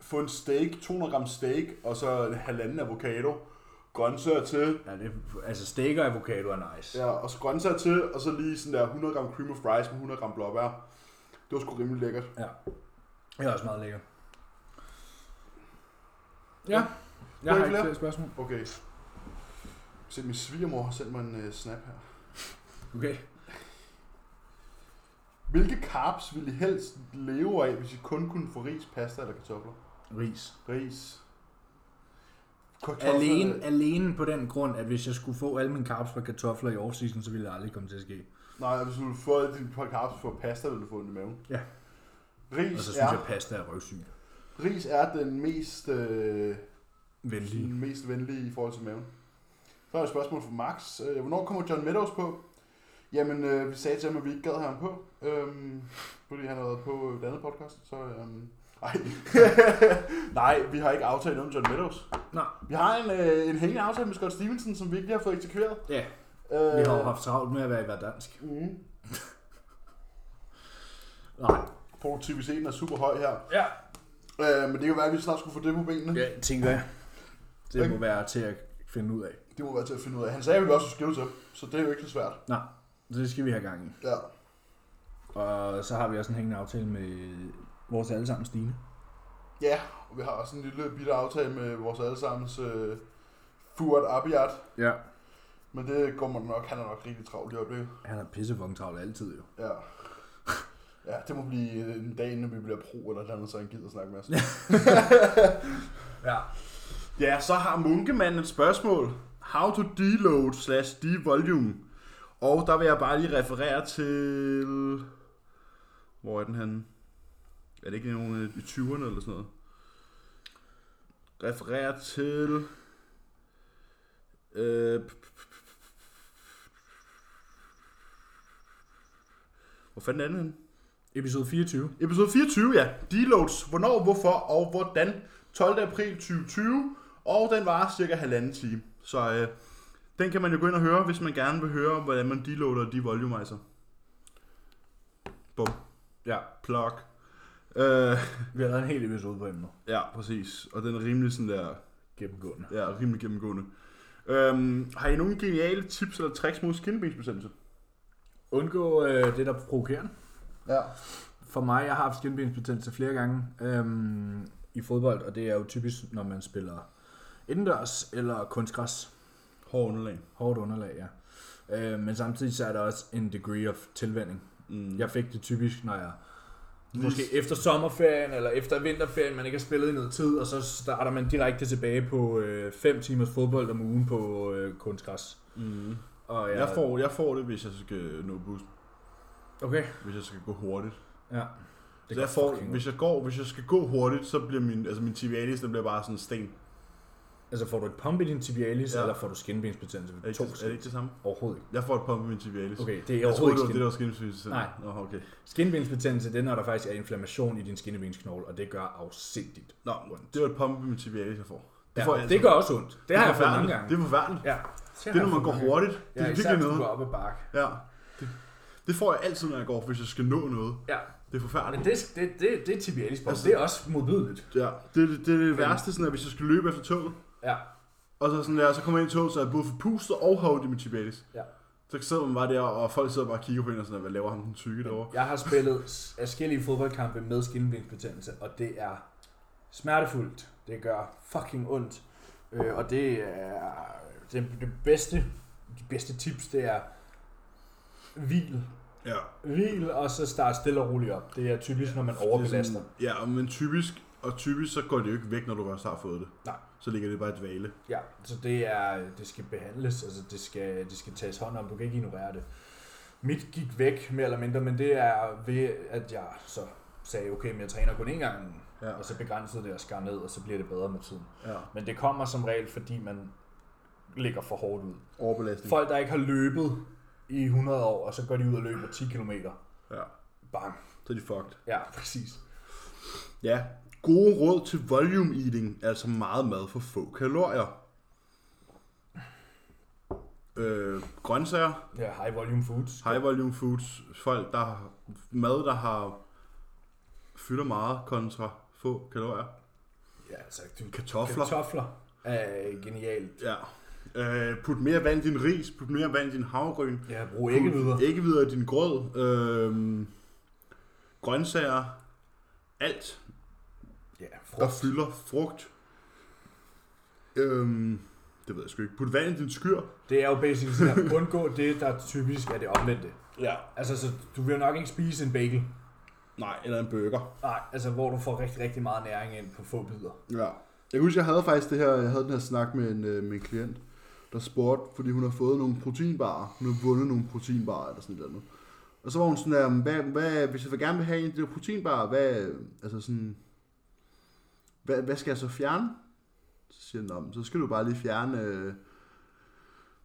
[SPEAKER 1] Få en steak, 200 gram steak, og så en halvanden avocado, grøntsager til,
[SPEAKER 2] Ja, det, altså steak og avocado er nice.
[SPEAKER 1] Ja, og så grøntsager til, og så lige sådan der 100 gram cream of rice med 100 gram blåbær. Det var sgu rimelig lækkert.
[SPEAKER 2] ja. Det er også meget lækkert. Ja, jeg har
[SPEAKER 1] ikke
[SPEAKER 2] ikke
[SPEAKER 1] flere?
[SPEAKER 2] flere spørgsmål.
[SPEAKER 1] Okay. Se, min svigermor har sendt mig en uh, snap her.
[SPEAKER 2] Okay.
[SPEAKER 1] Hvilke carbs ville I helst leve af, hvis I kun kunne få ris, pasta eller kartofler?
[SPEAKER 2] Ris.
[SPEAKER 1] Ris. Kartofler.
[SPEAKER 2] Alene, alene på den grund, at hvis jeg skulle få alle mine carbs fra kartofler i offseason, så ville det aldrig komme til at ske.
[SPEAKER 1] Nej, hvis du ville få alle dine par carbs for pasta, ville du få den i maven.
[SPEAKER 2] Ja.
[SPEAKER 1] Ris,
[SPEAKER 2] Og så
[SPEAKER 1] er,
[SPEAKER 2] synes jeg, at pasta er røvsygt.
[SPEAKER 1] ris er den mest, øh,
[SPEAKER 2] Venlig.
[SPEAKER 1] den mest venlige i forhold til maven. Så er der et spørgsmål fra Max. Øh, Hvornår kommer John Meadows på? Jamen, øh, vi sagde til ham, at vi ikke gad have ham på, øhm, fordi han har været på øh, et andet podcast, så... Øhm, ej. [laughs] Nej, vi har ikke aftalt noget med John Meadows.
[SPEAKER 2] Nej.
[SPEAKER 1] Vi har en, øh, en hængende aftale med Scott Stevenson, som vi ikke lige har fået eksekveret.
[SPEAKER 2] Ja,
[SPEAKER 1] Øh,
[SPEAKER 2] vi har jo haft travlt med at være i hver dansk.
[SPEAKER 1] Mm,
[SPEAKER 2] Nej.
[SPEAKER 1] produktiviteten er super høj her.
[SPEAKER 2] Ja,
[SPEAKER 1] Øh, men det kan være, at vi snart skulle få det på benene.
[SPEAKER 2] Ja, tænker jeg. Det
[SPEAKER 1] Okay.
[SPEAKER 2] må være til at finde ud af.
[SPEAKER 1] Det må være til at finde ud af. Han sagde, at vi også skulle skrive til, så det er jo ikke så svært.
[SPEAKER 2] Nej, det skal vi have gang i.
[SPEAKER 1] Ja.
[SPEAKER 2] Og så har vi også en hængende aftale med vores allesammen Stine.
[SPEAKER 1] Ja, og vi har også en lille bitte aftale med vores allesammens øh, Fuad Abiyat,
[SPEAKER 2] Ja.
[SPEAKER 1] men det går man nok, han er nok rigtig travlt i øjeblikket.
[SPEAKER 2] Han er pissefucking travlt altid jo.
[SPEAKER 1] Ja. Ja, det må blive en dag, inden vi bliver pro eller et eller andet, så han gider snakke med os.
[SPEAKER 2] Ja.
[SPEAKER 1] ja, så har Munkemanden et spørgsmål. How to deload slash devolume. Og der vil jeg bare lige referere til... Hvor er den han? Er det ikke nogen i 20'erne eller sådan noget? Referere til... Øh, p- p- p- p- hvor fanden er den henne?
[SPEAKER 2] Episode 24.
[SPEAKER 1] Episode 24, ja. Deloads. Hvornår, hvorfor og hvordan. 12. april 2020. Og den varer cirka halvanden time. Så øh, den kan man jo gå ind og høre, hvis man gerne vil høre, hvordan man deloader og devolumizer. Bum.
[SPEAKER 2] Ja.
[SPEAKER 1] Plug. Øh,
[SPEAKER 2] Vi har lavet en hel episode på emnet.
[SPEAKER 1] ja, præcis. Og den er rimelig sådan der,
[SPEAKER 2] Gennemgående.
[SPEAKER 1] ja, rimelig gennemgående. Øhm, har I nogen geniale tips eller tricks mod skinbensbetændelse?
[SPEAKER 2] Undgå øh, det, der er provokerende.
[SPEAKER 1] Ja.
[SPEAKER 2] For mig, jeg har haft skinbensbetændelse flere gange øhm, i fodbold, og det er jo typisk, når man spiller indendørs eller kunstgræs.
[SPEAKER 1] Hård underlag.
[SPEAKER 2] Hårdt underlag, ja. Øh, men samtidig så er der også en degree of tilvænding.
[SPEAKER 1] Mm.
[SPEAKER 2] Jeg fik det typisk, når jeg måske efter sommerferien eller efter vinterferien, man ikke har spillet i noget tid, og så starter man direkte tilbage på 5 timers fodbold om ugen på øh, kunstgræs.
[SPEAKER 1] Mm.
[SPEAKER 2] Og
[SPEAKER 1] Jeg, får, jeg får det, hvis jeg skal nå bus.
[SPEAKER 2] Okay,
[SPEAKER 1] Hvis jeg skal gå hurtigt.
[SPEAKER 2] ja.
[SPEAKER 1] Det jeg får, hvis jeg går, hvis jeg skal gå hurtigt, så bliver min, altså min tibialis, den bliver bare sådan en sten.
[SPEAKER 2] Altså får du et pump i din tibialis,
[SPEAKER 1] Ja.
[SPEAKER 2] ja. eller får du skinbensbetændelse?
[SPEAKER 1] Er det,
[SPEAKER 2] To
[SPEAKER 1] ikke, er det ikke det samme?
[SPEAKER 2] Overhovedet ikke.
[SPEAKER 1] Jeg får et pump i min tibialis.
[SPEAKER 2] Okay, det er
[SPEAKER 1] jeg troede,
[SPEAKER 2] overhovedet
[SPEAKER 1] det var
[SPEAKER 2] ikke
[SPEAKER 1] det,
[SPEAKER 2] skin.
[SPEAKER 1] der var skindsygelse.
[SPEAKER 2] Nej.
[SPEAKER 1] Nå, okay.
[SPEAKER 2] Skinbensbetændelse, det er, når der faktisk er inflammation i din skinnebensknogle, og det gør afsindigt.
[SPEAKER 1] Nå, det var et pump i min tibialis, jeg får.
[SPEAKER 2] Det, ja,
[SPEAKER 1] får
[SPEAKER 2] får
[SPEAKER 1] jeg
[SPEAKER 2] jeg
[SPEAKER 1] altid.
[SPEAKER 2] det gør også ondt. Det, det har
[SPEAKER 1] er
[SPEAKER 2] jeg fået mange
[SPEAKER 1] forfærdeligt.
[SPEAKER 2] gange.
[SPEAKER 1] Det er forfærdeligt.
[SPEAKER 2] ja.
[SPEAKER 1] Det er, når man går hurtigt. Det er virkelig noget.
[SPEAKER 2] op ad bakke.
[SPEAKER 1] Ja. Det, det får jeg altid, når jeg går, hvis jeg skal nå noget.
[SPEAKER 2] Ja,
[SPEAKER 1] Det er forfærdeligt.
[SPEAKER 2] men det, det, det, det er tibialis altså,
[SPEAKER 1] Altså-
[SPEAKER 2] det er også modbydeligt.
[SPEAKER 1] Ja, det, det, det er det værste, sådan at hvis jeg skal løbe efter toget,
[SPEAKER 2] Ja,
[SPEAKER 1] og så, sådan der, så kommer jeg ind i toget, så er jeg både forpustet og har ondt i min tibialis.
[SPEAKER 2] ja.
[SPEAKER 1] Så sidder man bare der, og folk sidder bare og kigger på en og sådan, hvad laver ham den tykke derovre?
[SPEAKER 2] Jeg har spillet forskellige fodboldkampe med skinneblindbetændelse, og det er smertefuldt. Det gør fucking ondt. Øh, og det er det, det bedste, de bedste tips, det er hvil.
[SPEAKER 1] Ja.
[SPEAKER 2] Hvil, og så start stille og roligt op. Det er typisk, når man overbelaster.
[SPEAKER 1] Det er sådan- Ja, men typisk, og typisk så går det jo ikke væk, når du først har fået det.
[SPEAKER 2] Nej.
[SPEAKER 1] så ligger det bare i dvale.
[SPEAKER 2] Ja, så det er det skal behandles, altså det skal, det skal tages hånd om, du kan ikke ignorere det. Mit gik væk mere eller mindre, men det er ved, at jeg så sagde, okay, men jeg træner kun én gang, om ugen.
[SPEAKER 1] Ja.
[SPEAKER 2] og så begrænsede det og skar ned, og så bliver det bedre med tiden.
[SPEAKER 1] Ja.
[SPEAKER 2] Men det kommer som regel, fordi man ligger for hårdt ud.
[SPEAKER 1] Overbelastning.
[SPEAKER 2] Folk, der ikke har løbet i 100 år, og så går de ud og løber 10 km.
[SPEAKER 1] Ja.
[SPEAKER 2] Bang.
[SPEAKER 1] Så er de fucked.
[SPEAKER 2] Ja, [laughs] præcis.
[SPEAKER 1] Ja. Gode råd til volume eating, altså meget mad for få kalorier. Øh, grøntsager,
[SPEAKER 2] Ja, high volume foods.
[SPEAKER 1] high volume foods, folk der har mad, der har fylder meget kontra få kalorier.
[SPEAKER 2] Ja, altså, du,
[SPEAKER 1] Kartofler.
[SPEAKER 2] kartofler er genialt.
[SPEAKER 1] Ja. Øh, put mere vand i din ris, put mere vand i din havregryn.
[SPEAKER 2] Ja, brug ikke videre.
[SPEAKER 1] Ikke videre i din grød. Øh, grøntsager. Alt,
[SPEAKER 2] Ja,
[SPEAKER 1] der
[SPEAKER 2] frugt.
[SPEAKER 1] fylder frugt. Øhm, det ved jeg sgu ikke. Put vand i din skyr.
[SPEAKER 2] Det er jo basically sådan, at undgå det, der typisk er det omvendte.
[SPEAKER 1] Ja.
[SPEAKER 2] Altså, så du vil jo nok ikke spise en bagel.
[SPEAKER 1] Nej, eller en burger.
[SPEAKER 2] Nej, altså, hvor du får rigtig, rigtig meget næring ind på få bidder.
[SPEAKER 1] Ja. Jeg kan huske, jeg havde faktisk det her, jeg havde den her snak med en, øh, med en klient, der spurgte, fordi hun har fået nogle proteinbarer. Hun har vundet nogle proteinbarer eller sådan noget. Og så var hun sådan der, "Men hvad, hvad, hvis jeg vil gerne vil have en af de der proteinbarer, hvad, altså sådan, hvad, hvad skal jeg så fjerne? Så siger han, "Nå, men så skal du bare lige fjerne, øh,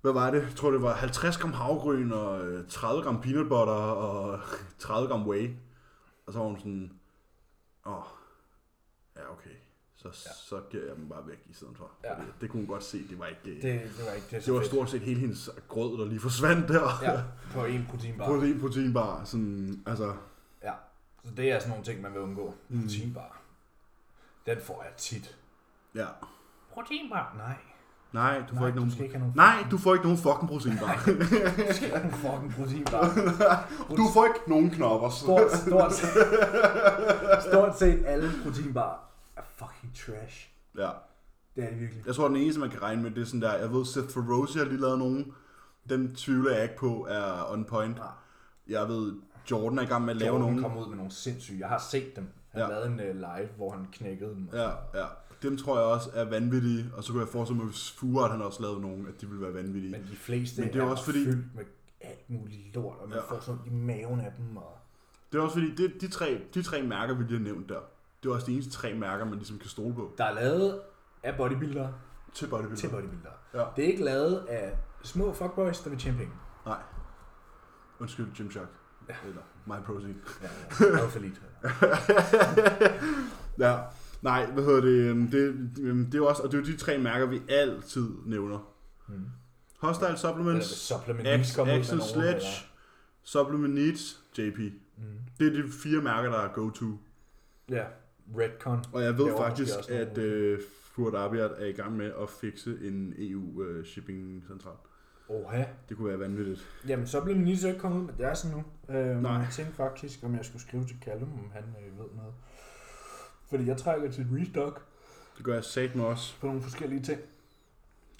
[SPEAKER 1] hvad var det? Jeg tror, det var 50 gram havregryn og øh, 30 gram peanut butter og [laughs] 30 gram whey. Og så var hun sådan, åh, ja okay, så, ja. så giver jeg dem bare væk i stedet for.
[SPEAKER 2] Ja.
[SPEAKER 1] Ja. Det kunne hun godt se, det var ikke... øh,
[SPEAKER 2] Det, det var ikke det. er så
[SPEAKER 1] Det var
[SPEAKER 2] fedt.
[SPEAKER 1] stort set hele hendes grød, der lige forsvandt der.
[SPEAKER 2] Ja, på en proteinbar.
[SPEAKER 1] [laughs] Protein, proteinbar, sådan, altså,
[SPEAKER 2] Ja, så det er sådan nogle ting, man vil undgå.
[SPEAKER 1] Mm.
[SPEAKER 2] Proteinbar. Den får jeg tit.
[SPEAKER 1] ja.
[SPEAKER 2] Proteinbar? Nej. [laughs]
[SPEAKER 1] Nej, du får
[SPEAKER 2] Nej,
[SPEAKER 1] ikke
[SPEAKER 2] du
[SPEAKER 1] nogen...
[SPEAKER 2] skal ikke have nogen-
[SPEAKER 1] Nej, du får ikke nogen fucking proteinbar.
[SPEAKER 2] Du skal have en fucking proteinbar.
[SPEAKER 1] [laughs] du får ikke nogen knopper.
[SPEAKER 2] Stort, stort, set, stort set alle proteinbar er fucking trash.
[SPEAKER 1] Ja.
[SPEAKER 2] Det er det virkelig.
[SPEAKER 1] Jeg tror, den eneste, man kan regne med, det er sådan der... Jeg ved, Seth Ferrosi har lige lavet nogen. Dem tvivler jeg ikke på er on point.
[SPEAKER 2] Nej.
[SPEAKER 1] Jeg ved, Jordan er i gang med at lave
[SPEAKER 2] Jordan
[SPEAKER 1] nogen.
[SPEAKER 2] kom ud med nogle sindssyge. Jeg har set dem. Han ja.
[SPEAKER 1] Ja.
[SPEAKER 2] lavede en øh, live, hvor han knækkede dem.
[SPEAKER 1] Ja, ja. Dem tror jeg også er vanvittige. Og så kunne jeg forestille mig, hvis Furat han også lavede nogen, at de ville være vanvittige.
[SPEAKER 2] Men de fleste
[SPEAKER 1] Men det er også fordi-
[SPEAKER 2] fyldt med alt muligt lort, og man ja.
[SPEAKER 1] Ja.
[SPEAKER 2] får sådan ondt i maven af dem. Og...
[SPEAKER 1] Det er også fordi, det, de, tre, de tre mærker, vi lige har nævnt der, det er også de eneste tre mærker, man ligesom kan stole på
[SPEAKER 2] Der er lavet af bodybuildere
[SPEAKER 1] til bodybuilder.
[SPEAKER 2] til bodybuildere.
[SPEAKER 1] Ja.
[SPEAKER 2] Det er ikke lavet af små fuckboys, der vil tjene penge.
[SPEAKER 1] Nej. Undskyld, Gymshark. Ja. Eller MyProtein.
[SPEAKER 2] Ja, ja. Lavet for lidt.
[SPEAKER 1] [laughs] Ja. Nej, hvad hedder det? øhm, Det, øhm, det er jo også, og det er jo de tre mærker, vi altid nævner.
[SPEAKER 2] Mm.
[SPEAKER 1] Hostile
[SPEAKER 2] Eller
[SPEAKER 1] Supplements,
[SPEAKER 2] supplement
[SPEAKER 1] Ax-
[SPEAKER 2] X, kommer ud med
[SPEAKER 1] Axel
[SPEAKER 2] nogle
[SPEAKER 1] Sledge, Supplement Needs, JP.
[SPEAKER 2] Mm.
[SPEAKER 1] Det er de fire mærker, der er go-to.
[SPEAKER 2] Ja, Redcon.
[SPEAKER 1] Og jeg ved
[SPEAKER 2] Laver
[SPEAKER 1] faktisk,
[SPEAKER 2] måske også nogle-
[SPEAKER 1] at øh, Fuad Abiat er i gang med at fikse en E øh, EU-shipping-central.
[SPEAKER 2] Oha.
[SPEAKER 1] Det kunne være vanvittigt.
[SPEAKER 2] Jamen, så blev Minito ikke kommet ud med deres nu. Øhm,
[SPEAKER 1] Nej.
[SPEAKER 2] Jeg tænkte faktisk, om jeg skulle skrive til Callum, om han øh, ved noget. Fordi jeg trækker til et restock
[SPEAKER 1] Det gør jeg sat mig også.
[SPEAKER 2] på nogle forskellige ting. Det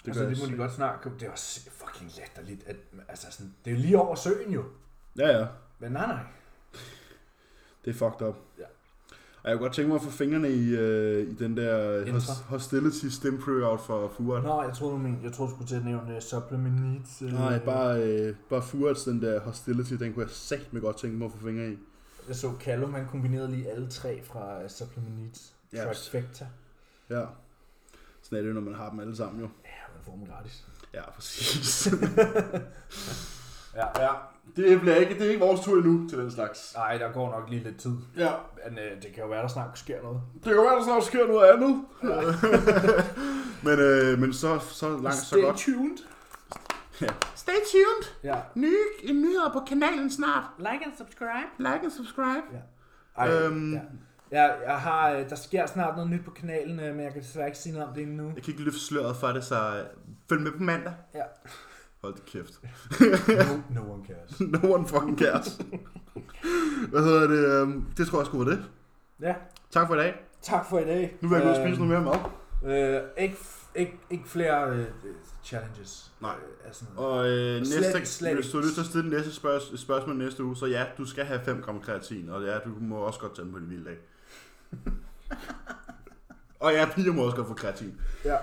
[SPEAKER 1] gør
[SPEAKER 2] altså,
[SPEAKER 1] jeg
[SPEAKER 2] det må de
[SPEAKER 1] sikkert.
[SPEAKER 2] godt snart komme. Det er også fucking latterligt. At, altså, sådan, det er jo lige over søen jo.
[SPEAKER 1] Ja, ja.
[SPEAKER 2] Men nej, nej.
[SPEAKER 1] Det er fucked up.
[SPEAKER 2] Ja.
[SPEAKER 1] Og jeg kunne godt tænke mig at få fingrene i, øh, i den der
[SPEAKER 2] Intra.
[SPEAKER 1] hos- hostility stem pre-out for Furet.
[SPEAKER 2] Nå, jeg troede, du mente, jeg troede, du skulle til at nævne uh, supplement needs. øh,
[SPEAKER 1] Nej, bare, øh, bare Furets, den der hostility, den kunne jeg sagt med godt tænke mig at få fingre i.
[SPEAKER 2] Jeg så Callum, han kombinerede lige alle tre fra øh, supplement needs.
[SPEAKER 1] Ja.
[SPEAKER 2] Trifecta.
[SPEAKER 1] Ja. Sådan er det jo, når man har dem alle sammen jo.
[SPEAKER 2] Ja, man får dem gratis.
[SPEAKER 1] Ja, [laughs] præcis.
[SPEAKER 2] Ja.
[SPEAKER 1] ja, det bliver ikke, det er ikke vores tur endnu til den slags.
[SPEAKER 2] Nej, der går nok lige lidt tid.
[SPEAKER 1] Ja,
[SPEAKER 2] Men øh, det kan jo være, der snart sker noget.
[SPEAKER 1] det kan være, der snart sker noget andet. [laughs] men, øh, men så, så langt, så godt.
[SPEAKER 2] Altså, tuned.
[SPEAKER 1] Ja. Stay tuned.
[SPEAKER 2] Ja.
[SPEAKER 1] Nye nyheder på kanalen snart.
[SPEAKER 2] Like and subscribe.
[SPEAKER 1] Like and subscribe.
[SPEAKER 2] Ja. Ej,
[SPEAKER 1] Øhm.
[SPEAKER 2] ja. Jeg, jeg har, øh, der sker snart noget nyt på kanalen, øh, men jeg kan desværre ikke sige noget om det endnu.
[SPEAKER 1] Jeg kan ikke løfte sløret for det, så følg med på mandag.
[SPEAKER 2] Ja.
[SPEAKER 1] Hold det kæft.
[SPEAKER 2] [laughs]
[SPEAKER 1] [laughs]
[SPEAKER 2] No, no one cares.
[SPEAKER 1] no one fucking
[SPEAKER 2] [laughs]
[SPEAKER 1] cares. Hvad hedder det? øhm, Det tror jeg sgu var det.
[SPEAKER 2] Ja, Øhm.
[SPEAKER 1] Tak for i dag.
[SPEAKER 2] tak for i dag.
[SPEAKER 1] Nu vil jeg gå ud og spise noget mere mad.
[SPEAKER 2] mere. Øh, ikke, f- ikke, ikke flere øh, øh, challenges.
[SPEAKER 1] Nej.
[SPEAKER 2] Øh, af sådan noget.
[SPEAKER 1] Og øh,
[SPEAKER 2] Slet-
[SPEAKER 1] næste,
[SPEAKER 2] slet
[SPEAKER 1] hvis du har
[SPEAKER 2] ikke.
[SPEAKER 1] lyst til at stille næste spørg- spørgsmål næste uge, så ja, du skal have
[SPEAKER 2] [laughs]
[SPEAKER 1] 5 gram kreatin, og ja, du må også godt tage den på din vilde dag. Og ja, piger må også godt få kreatin.
[SPEAKER 2] Ja.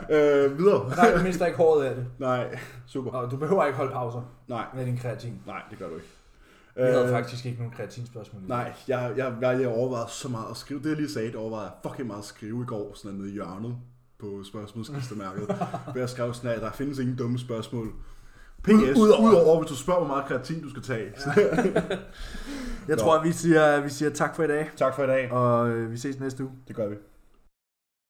[SPEAKER 1] Øh, videre.
[SPEAKER 2] Nej, du mister ikke håret af det.
[SPEAKER 1] Nej, super.
[SPEAKER 2] Og du behøver ikke holde pauser
[SPEAKER 1] Nej,
[SPEAKER 2] med din kreatin.
[SPEAKER 1] nej, det gør du ikke. Øh,
[SPEAKER 2] Vi havde faktisk ikke nogen kreatinspørgsmål. i dag.
[SPEAKER 1] Nej, jeg, jeg, jeg, jeg overvejede så meget at skrive. Det jeg lige sagde, det overvejede jeg fucking meget at skrive i går, sådan nede i hjørnet på [laughs] spørgsmålskistemærket. hvor jeg skrev sådan, at der findes ingen dumme spørgsmål. PS, udover,
[SPEAKER 2] udover-
[SPEAKER 1] udover hvis du spørger, hvor meget kreatin du skal tage. [laughs] Ja.
[SPEAKER 2] Jeg tror, vi siger, vi siger tak for i dag,
[SPEAKER 1] tak for i dag.
[SPEAKER 2] og øh, vi ses næste uge.
[SPEAKER 1] Det gør vi.